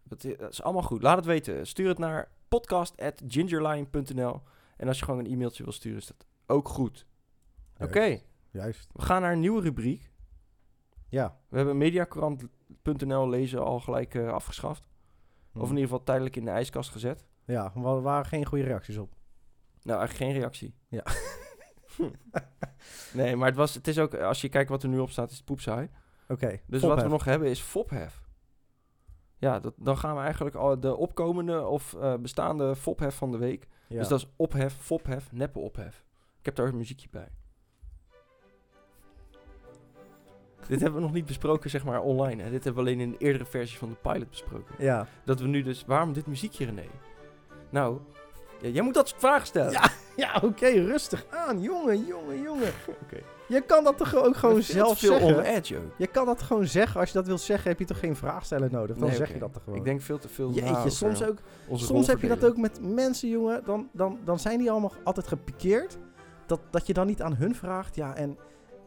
S2: Dat i- dat is allemaal goed. Laat het weten. Stuur het naar podcast.gingerlion.nl En als je gewoon een e-mailtje wil sturen, is dat ook goed. Oké,
S1: Juist.
S2: we gaan naar een nieuwe rubriek.
S1: Ja.
S2: We hebben
S1: Hmm.
S2: mediacourant.nl lezen al gelijk eh, afgeschaft. Of in ieder geval tijdelijk in de ijskast gezet.
S1: Hm. Ja, wa- er waren geen goede reacties op.
S2: Nou, eigenlijk geen reactie.
S1: Ja.
S2: Hm. nee, maar het, was, het is ook, als je kijkt wat er nu op staat, is het poepsaai.
S1: Oké,
S2: Dus wat we nog hebben is fophef. Ja, dat, dan gaan we eigenlijk al de opkomende of eh, bestaande fophef van de week. Dus dat is ophef, fophef, neppe ophef. Ik heb daar een muziekje bij. Dit hebben we nog niet besproken, zeg maar, online. Hè. Dit hebben we alleen in een eerdere versie van de pilot besproken.
S1: Ja,
S2: Dat we nu dus... Waarom dit muziekje, René? Nou, ja, jij moet dat soort vragen stellen.
S1: Ja, ja oké, rustig aan. Jongen, jongen, jongen.
S2: Oké.
S1: Je kan dat toch ook gewoon
S2: Dat is
S1: zelf
S2: veel
S1: zeggen?
S2: on edge ook.
S1: Je kan dat gewoon zeggen. Als je dat wilt zeggen, heb je toch geen vraagsteller nodig? Dan
S2: Nee,
S1: zeg
S2: oké.
S1: je dat toch gewoon.
S2: Ik denk veel te veel
S1: Jeetje,
S2: na over
S1: soms, ook,
S2: onze
S1: soms heb je dat
S2: rolverdeling.
S1: ook met mensen, jongen. Dan, dan, dan zijn die allemaal altijd gepikeerd. Dat, dat je dan niet aan hun vraagt, ja, en,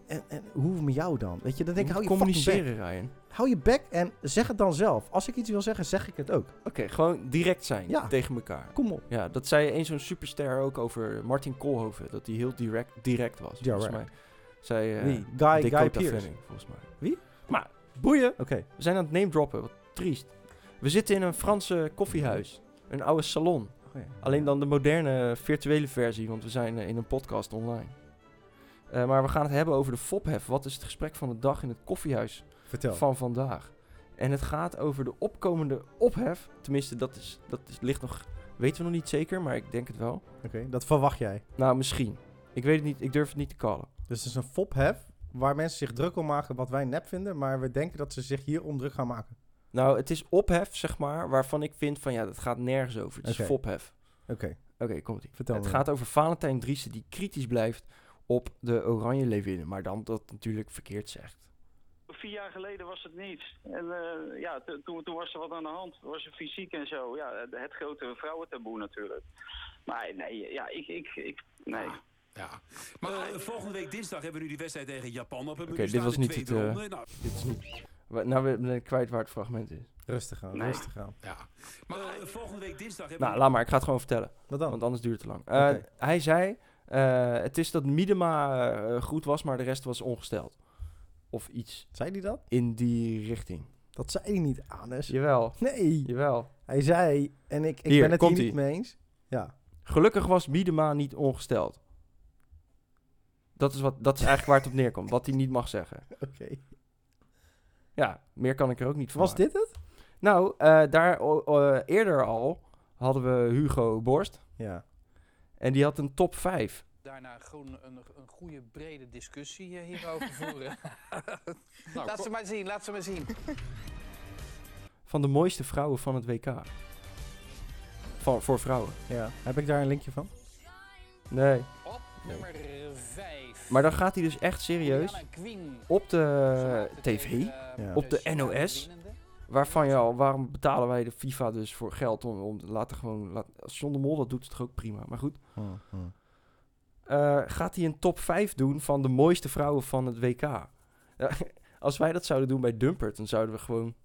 S1: en, en hoe met jou dan? Weet je, dan denk ik,
S2: moet
S1: hou je fucking bek.
S2: communiceren, Ryan.
S1: Hou je bek en zeg het dan zelf. Als ik iets wil zeggen, zeg ik het ook.
S2: Oké, gewoon direct zijn
S1: Ja.
S2: tegen elkaar.
S1: Kom op.
S2: Ja, dat zei eens zo'n superster ook over Martin Koolhoven. Dat hij heel direct, direct was, volgens
S1: Direct.
S2: mij. Zei eh,
S1: Wie? Guy, Guy
S2: Dakota
S1: Pierce.
S2: Fanning, volgens mij.
S1: Wie?
S2: Maar, boeien.
S1: Oké.
S2: We zijn aan het name droppen, wat triest. We zitten in een Franse koffiehuis. Een oude salon. Alleen dan de moderne eh, virtuele versie, want we zijn eh, in een podcast online. Eh, maar we gaan het hebben over de fophef. Wat is het gesprek van de dag in het koffiehuis
S1: Vertel.
S2: van vandaag. En het gaat over de opkomende ophef. Tenminste, dat, is, dat is, ligt nog. weten we nog niet zeker, maar ik denk het wel.
S1: Oké, dat verwacht jij.
S2: Nou, misschien. Ik weet het niet, ik durf het niet te callen.
S1: Dus het is een fophef waar mensen zich druk om maken wat wij nep vinden, maar we denken dat ze zich hierom druk gaan maken.
S2: Nou, het is ophef, zeg maar, waarvan ik vind van ja, dat gaat nergens over. Het
S1: Oké.
S2: is fophef.
S1: Oké,
S2: Oké, komt ie.
S1: Vertel
S2: het
S1: me.
S2: gaat over Valentijn Driessen die kritisch blijft op de Oranje Leeuwinnen. Maar dan dat natuurlijk verkeerd zegt.
S7: Vier jaar geleden was het niets. En eh, ja, t- toen, toen was er wat aan de hand. Er was er fysiek en zo. Ja, het- het grote vrouwentaboe natuurlijk. Maar nee, ja, ik, ik, ik nee.
S8: Ja. Maar eh, volgende week dinsdag hebben we nu die wedstrijd tegen Japan op. Oké,
S2: dit was niet het, eh,
S8: Nou,
S2: Wa- Nou, ben ik kwijt waar het fragment is.
S1: rustig aan,
S7: Nee.
S1: rustig aan.
S8: ja. Maar eh, volgende week dinsdag hebben
S2: Nou, laat maar, ik ga het gewoon vertellen.
S1: Wat dan?
S2: Want anders duurt het te lang.
S1: Oh. Oké.
S2: Eh, Hij zei, eh, het is dat Miedema eh, goed was, maar de rest was ongesteld. Of iets
S1: Zei hij dat?
S2: in die richting.
S1: Dat zei hij niet, Anes.
S2: Jawel,
S1: Nee,
S2: jawel.
S1: hij zei, en ik, ik
S2: Hier,
S1: ben het hier
S2: komt-ie.
S1: niet mee eens. Ja,
S2: Gelukkig was Miedema niet ongesteld. Dat is, wat, dat is eigenlijk waar het op neerkomt, wat hij niet mag zeggen.
S1: oké.
S2: Ja, meer kan ik er ook niet van
S1: Was
S2: maken.
S1: dit het?
S2: Nou, eh, daar o- o- eerder al hadden we Hugo Borst.
S1: Ja.
S2: En die had een top 5.
S9: daarna gewoon een, een goede brede discussie eh, hierover voeren.
S8: Nou,
S9: laat ze maar zien, laat ze maar zien.
S2: van de mooiste vrouwen van het WK. Van, voor vrouwen.
S1: ja. Heb ik daar een linkje van?
S2: Nee.
S9: Op nummer 5.
S2: Maar dan gaat hij dus echt serieus op eh, de tv,
S9: eh,
S1: Ja.
S2: op de NOS. waarvan je al, waarom betalen wij de FIFA dus voor geld om, om laten gewoon, laat, als John de Mol dat doet, is het toch ook prima. Maar goed,
S1: Hm, hm.
S2: Eh, gaat hij een top 5 doen van de mooiste vrouwen van het WK? Ja, als wij dat zouden doen bij Dumpert, dan zouden we gewoon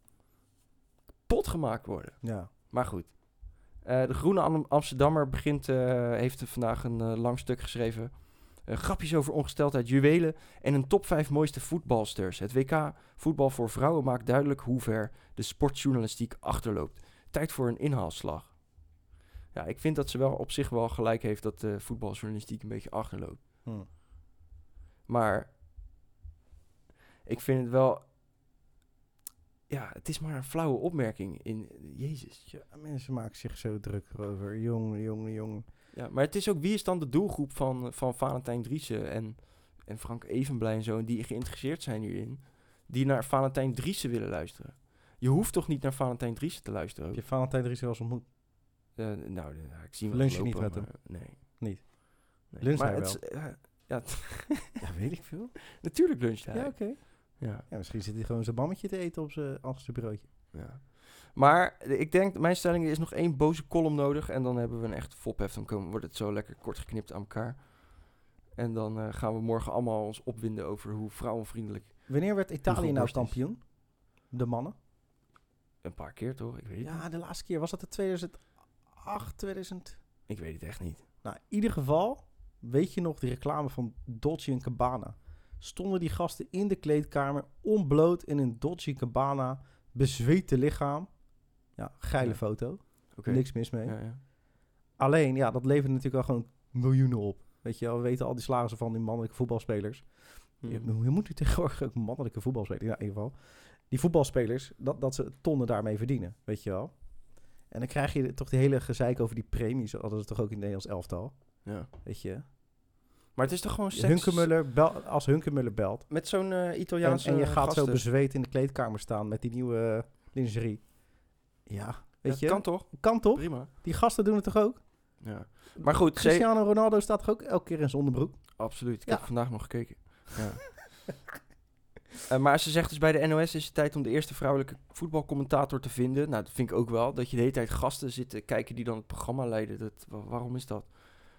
S2: pot gemaakt worden.
S1: Ja.
S2: Maar goed. Eh, de Groene Am- Amsterdammer begint, eh, heeft vandaag een eh, lang stuk geschreven. Eh, grapjes over ongesteldheid, juwelen en een top 5 mooiste voetbalsters. Het WK voetbal voor vrouwen maakt duidelijk hoe ver de sportjournalistiek achterloopt. Tijd voor een inhaalslag. Ja, ik vind dat ze wel op zich wel gelijk heeft dat de voetbaljournalistiek een beetje achterloopt.
S1: Hm.
S2: Maar ik vind het wel... Ja, het is maar een flauwe opmerking in... Jezus, ja.
S1: Ja, Mensen maken zich zo druk over. Jongen, jongen, jongen.
S2: Ja, maar het is ook wie is dan de doelgroep van, van Valentijn Driessen en, en Frank Evenblij en zo, en die geïnteresseerd zijn hierin, die naar Valentijn Driessen willen luisteren. Je hoeft toch niet naar Valentijn Driessen te luisteren?
S1: Heb
S2: ook?
S1: je Valentijn Dries wel eens ontmoet?
S2: Eh, nou, de- ja, ik zie hem
S1: Lunch je
S2: wel lopen,
S1: niet met
S2: maar, Nee.
S1: Niet?
S2: Nee.
S1: Luncht
S2: maar
S1: hij
S2: het is- eh, ja,
S1: Ja, weet ik veel.
S2: natuurlijk luncht hij.
S1: Ja, oké.
S2: Ja.
S1: Ja, misschien zit hij gewoon zijn bammetje te eten op zijn achterste broodje.
S2: Ja. Maar eh, ik denk, mijn stelling is nog één boze column nodig. En dan hebben we een echte fophef. Dan komen, wordt het zo lekker kort geknipt aan elkaar. En dan eh, gaan we morgen allemaal ons opwinden over hoe vrouwenvriendelijk.
S1: Wanneer werd Italië nou
S2: Borst is.
S1: kampioen? De mannen?
S2: Een paar keer toch? Ik weet het niet.
S1: Ja, de laatste keer was dat in 2008, 2000.
S2: Ik weet het echt niet.
S1: Nou, in ieder geval, weet je nog die reclame van Dolce Cabana? Stonden die gasten in de kleedkamer, onbloot in een Dolce Cabana, bezweet lichaam. Ja, geile
S2: Ja.
S1: foto,
S2: Oké.
S1: niks mis mee.
S2: Ja, ja.
S1: Alleen, ja, dat levert natuurlijk wel gewoon miljoenen op. Weet je wel, we weten al die salarissen van die mannelijke voetbalspelers.
S2: Hmm.
S1: Je, je moet nu tegenwoordig ook mannelijke voetbalspelers, ja, in ieder geval. Die voetbalspelers, dat, dat ze tonnen daarmee verdienen, weet je wel. En dan krijg je toch die hele gezeik over die premies, hadden ze toch ook in het Nederlands elftal,
S2: Ja.
S1: weet je.
S2: Maar het is toch gewoon seks?
S1: Hunkemuller bel, als Hunkemuller belt
S2: Met zo'n eh,
S1: en,
S2: Italiaanse
S1: en je gaat
S2: gasten.
S1: zo bezweet in de kleedkamer staan met die nieuwe eh, lingerie. Ja, weet
S2: Ja,
S1: je.
S2: kan toch?
S1: kan toch?
S2: Prima.
S1: Die gasten doen het toch ook?
S2: Ja. Maar goed, ze-
S1: Cristiano Ronaldo staat toch ook elke keer in zijn onderbroek?
S2: Absoluut. Ik
S1: Ja.
S2: heb vandaag nog gekeken. Ja. Eh, maar ze zegt dus bij de NOS is het tijd om de eerste vrouwelijke voetbalcommentator te vinden. Nou, dat vind ik ook wel. Dat je de hele tijd gasten zit te kijken die dan het programma leiden. Dat, wa- waarom is dat?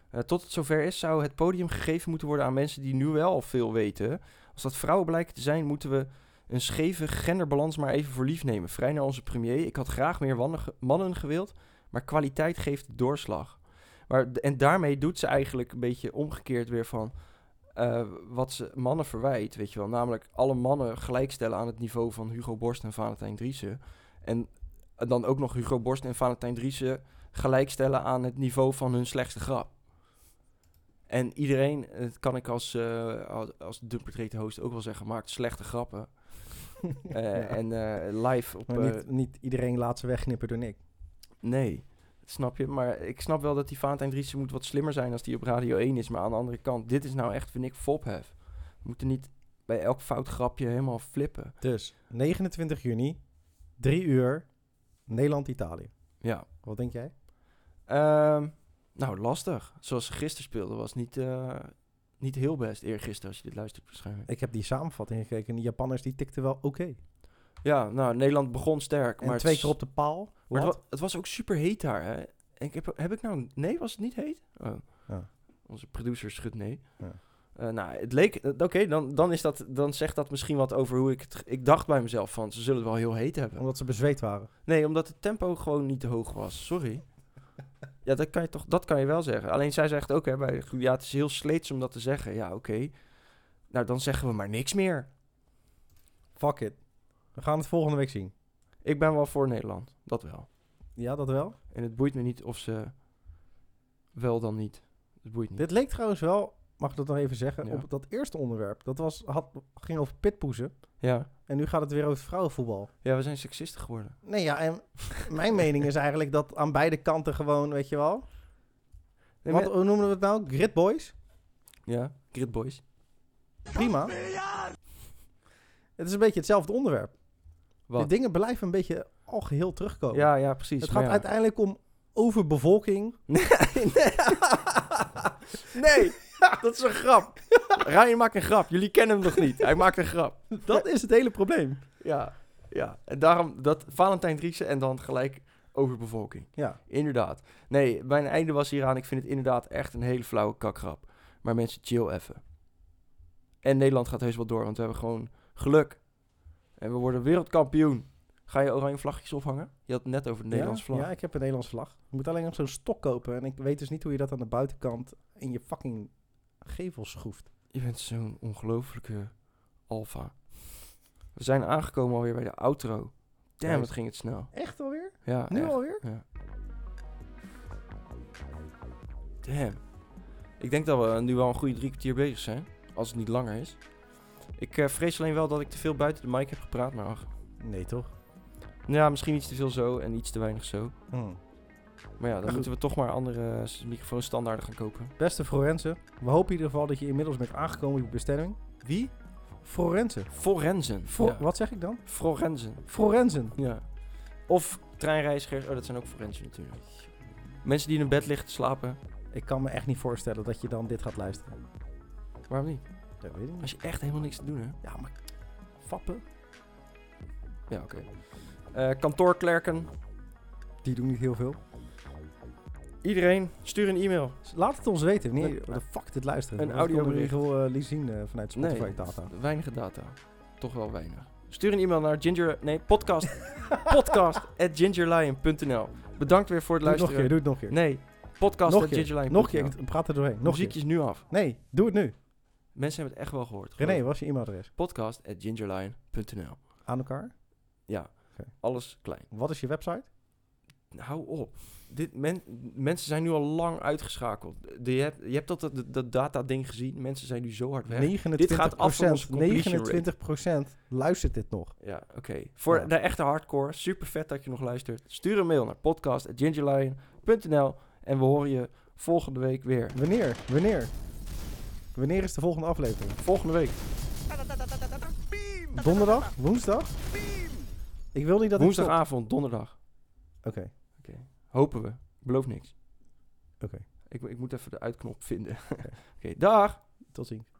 S2: Eh, tot het zover is, zou het podium gegeven moeten worden aan mensen die nu wel al veel weten. Als dat vrouwen blijken te zijn, moeten we een scheve genderbalans maar even voor lief nemen. Vrij naar onze premier. Ik had graag meer wannen- mannen gewild, maar kwaliteit geeft doorslag. Maar, d- en daarmee doet ze eigenlijk een beetje omgekeerd weer van eh, wat ze mannen verwijt, weet je wel. Namelijk alle mannen gelijkstellen aan het niveau van Hugo Borst en Valentijn Driessen. En eh, dan ook nog Hugo Borst en Valentijn Driessen gelijkstellen aan het niveau van hun slechtste grap. En iedereen, dat kan ik als, eh als, als dumpertrete host ook wel zeggen, maakt slechte grappen. Eh, En eh, live op...
S1: Maar
S2: eh,
S1: niet, niet iedereen laat ze wegknippen door Nick.
S2: Nee, dat snap je. Maar ik snap wel dat die Valentijn Driessen moet wat slimmer zijn als die op Radio 1 is. Maar aan de andere kant, dit is nou echt, vind ik, fophef. We moeten niet bij elk fout grapje helemaal flippen.
S1: Dus 29 juni, 3 uur, Nederland-Italië.
S2: Ja.
S1: Wat denk jij?
S2: Ehm, nou, lastig. Zoals ze gisteren speelden was niet, eh, niet heel best. Eergisteren, als je dit luistert waarschijnlijk.
S1: Ik heb die samenvatting gekeken en die Japanners die tikten wel oké.
S2: Ja, nou, Nederland begon sterk.
S1: En
S2: maar
S1: twee
S2: het,
S1: keer op de paal.
S2: maar het,
S1: Wat?
S2: wa- het was ook super heet daar, hè. En Ik heb, heb ik nou... Nee, was het niet heet? Oh.
S1: Ja.
S2: Onze producer schudt nee.
S1: Ja.
S2: Eh, nou, het leek... eh, Oké, dan, dan, is dat, dan zegt dat misschien wat over hoe ik het... ge- Ik dacht bij mezelf van, ze zullen het wel heel heet hebben.
S1: Omdat ze bezweet waren.
S2: Nee, omdat het tempo gewoon niet te hoog was. Sorry. ja, dat kan je toch... Dat kan je wel zeggen. Alleen zij zegt ook, hè, bij, ja, het is heel sleets om dat te zeggen. Ja, oké. Nou, dan zeggen we maar niks meer.
S1: Fuck it. We gaan het volgende week zien.
S2: Ik ben wel voor Nederland. Dat wel.
S1: Ja, dat wel.
S2: En het boeit me niet of ze wel dan niet. Het boeit niet.
S1: Dit leek trouwens wel, mag ik dat nog even zeggen,
S2: Ja.
S1: op dat eerste onderwerp. Dat was, had, ging over pitpoezen.
S2: Ja.
S1: En nu gaat het weer over vrouwenvoetbal.
S2: ja, we zijn seksisten geworden.
S1: Nee, ja, en mijn mening is eigenlijk dat aan beide kanten gewoon, weet je wel.
S2: Nee,
S1: Wat,
S2: maar-
S1: hoe noemen we het nou? Grid Boys?
S2: Ja, Grid Boys.
S1: Prima. Het is een beetje hetzelfde onderwerp.
S2: Wat?
S1: Die dingen blijven een beetje al geheel terugkomen.
S2: Ja, ja, precies.
S1: het gaat
S2: maar ja.
S1: uiteindelijk om overbevolking.
S2: nee, dat is een grap. Ryan maakt een grap. Jullie kennen hem nog niet. Hij maakt een grap.
S1: Dat is het hele probleem.
S2: Ja, ja. En daarom dat Valentijn Driessen en dan gelijk overbevolking.
S1: Ja.
S2: Inderdaad. Nee, mijn einde was hieraan. Ik vind het inderdaad echt een hele flauwe kakgrap. Maar mensen, chill even. En Nederland gaat heus wel door, want we hebben gewoon geluk. En we worden wereldkampioen. Ga je oranje vlaggetjes ophangen? Je had het net over de Nederlandse
S1: ja?
S2: vlag.
S1: Ja, ik heb een Nederlandse vlag. Je moet alleen nog zo'n stok kopen. En ik weet dus niet hoe je dat aan de buitenkant in je fucking gevel schroeft.
S2: Je bent zo'n ongelofelijke alfa. We zijn aangekomen alweer bij de outro. Damn,
S1: Nice.
S2: het ging het snel.
S1: Echt alweer?
S2: Ja,
S1: Nu
S2: Ah, echt.
S1: alweer?
S2: Ja. Damn. Ik denk dat we nu wel een goede drie kwartier bezig zijn. Als het niet langer is. Ik eh, vrees alleen wel dat ik te veel buiten de mic heb gepraat, maar ach.
S1: Nee, toch?
S2: Ja, misschien iets te veel zo en iets te weinig zo.
S1: Hm.
S2: Maar ja, dan
S1: goed.
S2: moeten we toch maar andere eh, microfoonstandaarden gaan kopen.
S1: Beste Forense, we hopen in ieder geval dat je inmiddels bent aangekomen op je bestemming.
S2: Wie?
S1: Forense.
S2: Forensen.
S1: Fro-
S2: ja.
S1: Wat zeg ik dan?
S2: Forensen.
S1: Forensen.
S2: Ja. Of treinreizigers. Oh, dat zijn ook forensen natuurlijk. Mensen die in hun bed liggen te slapen.
S1: Ik kan me echt niet voorstellen dat je dan dit gaat luisteren.
S2: Waarom niet?
S1: Dat weet ik niet.
S2: Als je echt helemaal niks te doen hebt.
S1: Ja, maar fappen,
S2: Ja, oké. Eh, kantoorklerken.
S1: die doen niet heel veel.
S2: Iedereen, stuur een e-mail.
S1: Laat het ons weten wanneer
S2: Nee.
S1: je de fuck dit luistert.
S2: Een
S1: Want dat konden we
S2: audiobericht.
S1: niet heel eh, liet zien eh, vanuit
S2: Nee.
S1: Spotify-data.
S2: Weinige data. Toch wel weinig. Stuur een e-mail naar ginger... Nee, podcast. podcast at gingerlion.nl Bedankt weer voor het
S1: Doe het nog een
S2: luisteren.
S1: keer, doe het nog een keer.
S2: Nee, podcast
S1: nog
S2: at
S1: een keer,
S2: gingerlion.nl
S1: nog een keer. Ik praat er doorheen. Nog een
S2: Muziekje
S1: keer.
S2: is nu af.
S1: Nee, doe het nu.
S2: Mensen hebben het echt wel gehoord.
S1: René, wat is je e-mailadres?
S2: Podcast at gingerlion.nl
S1: Aan elkaar.
S2: Ja,
S1: Oké.
S2: alles klein.
S1: Wat is je website?
S2: hou op. Dit, men, mensen zijn nu al lang uitgeschakeld. De, je, hebt, je hebt dat, dat, dat data-ding gezien. Mensen zijn nu zo hard weg.
S1: 29%,
S2: Dit gaat af van onze completion rate.
S1: 29% luistert dit nog.
S2: Ja, oké. Voor
S1: Ja.
S2: de echte hardcore, super vet dat je nog luistert. Stuur een mail naar podcast.gingerlion.nl en we horen je volgende week weer.
S1: Wanneer? Wanneer? Wanneer is de volgende aflevering?
S2: Volgende week.
S1: Donderdag? Woensdag? Ik wil niet dat ik stop.
S2: Woensdagavond, donderdag.
S1: Oké.
S2: Hopen we. Ik beloof niks.
S1: Oké.
S2: Ik, ik moet even de uitknop vinden. oké, dag!
S1: Tot ziens.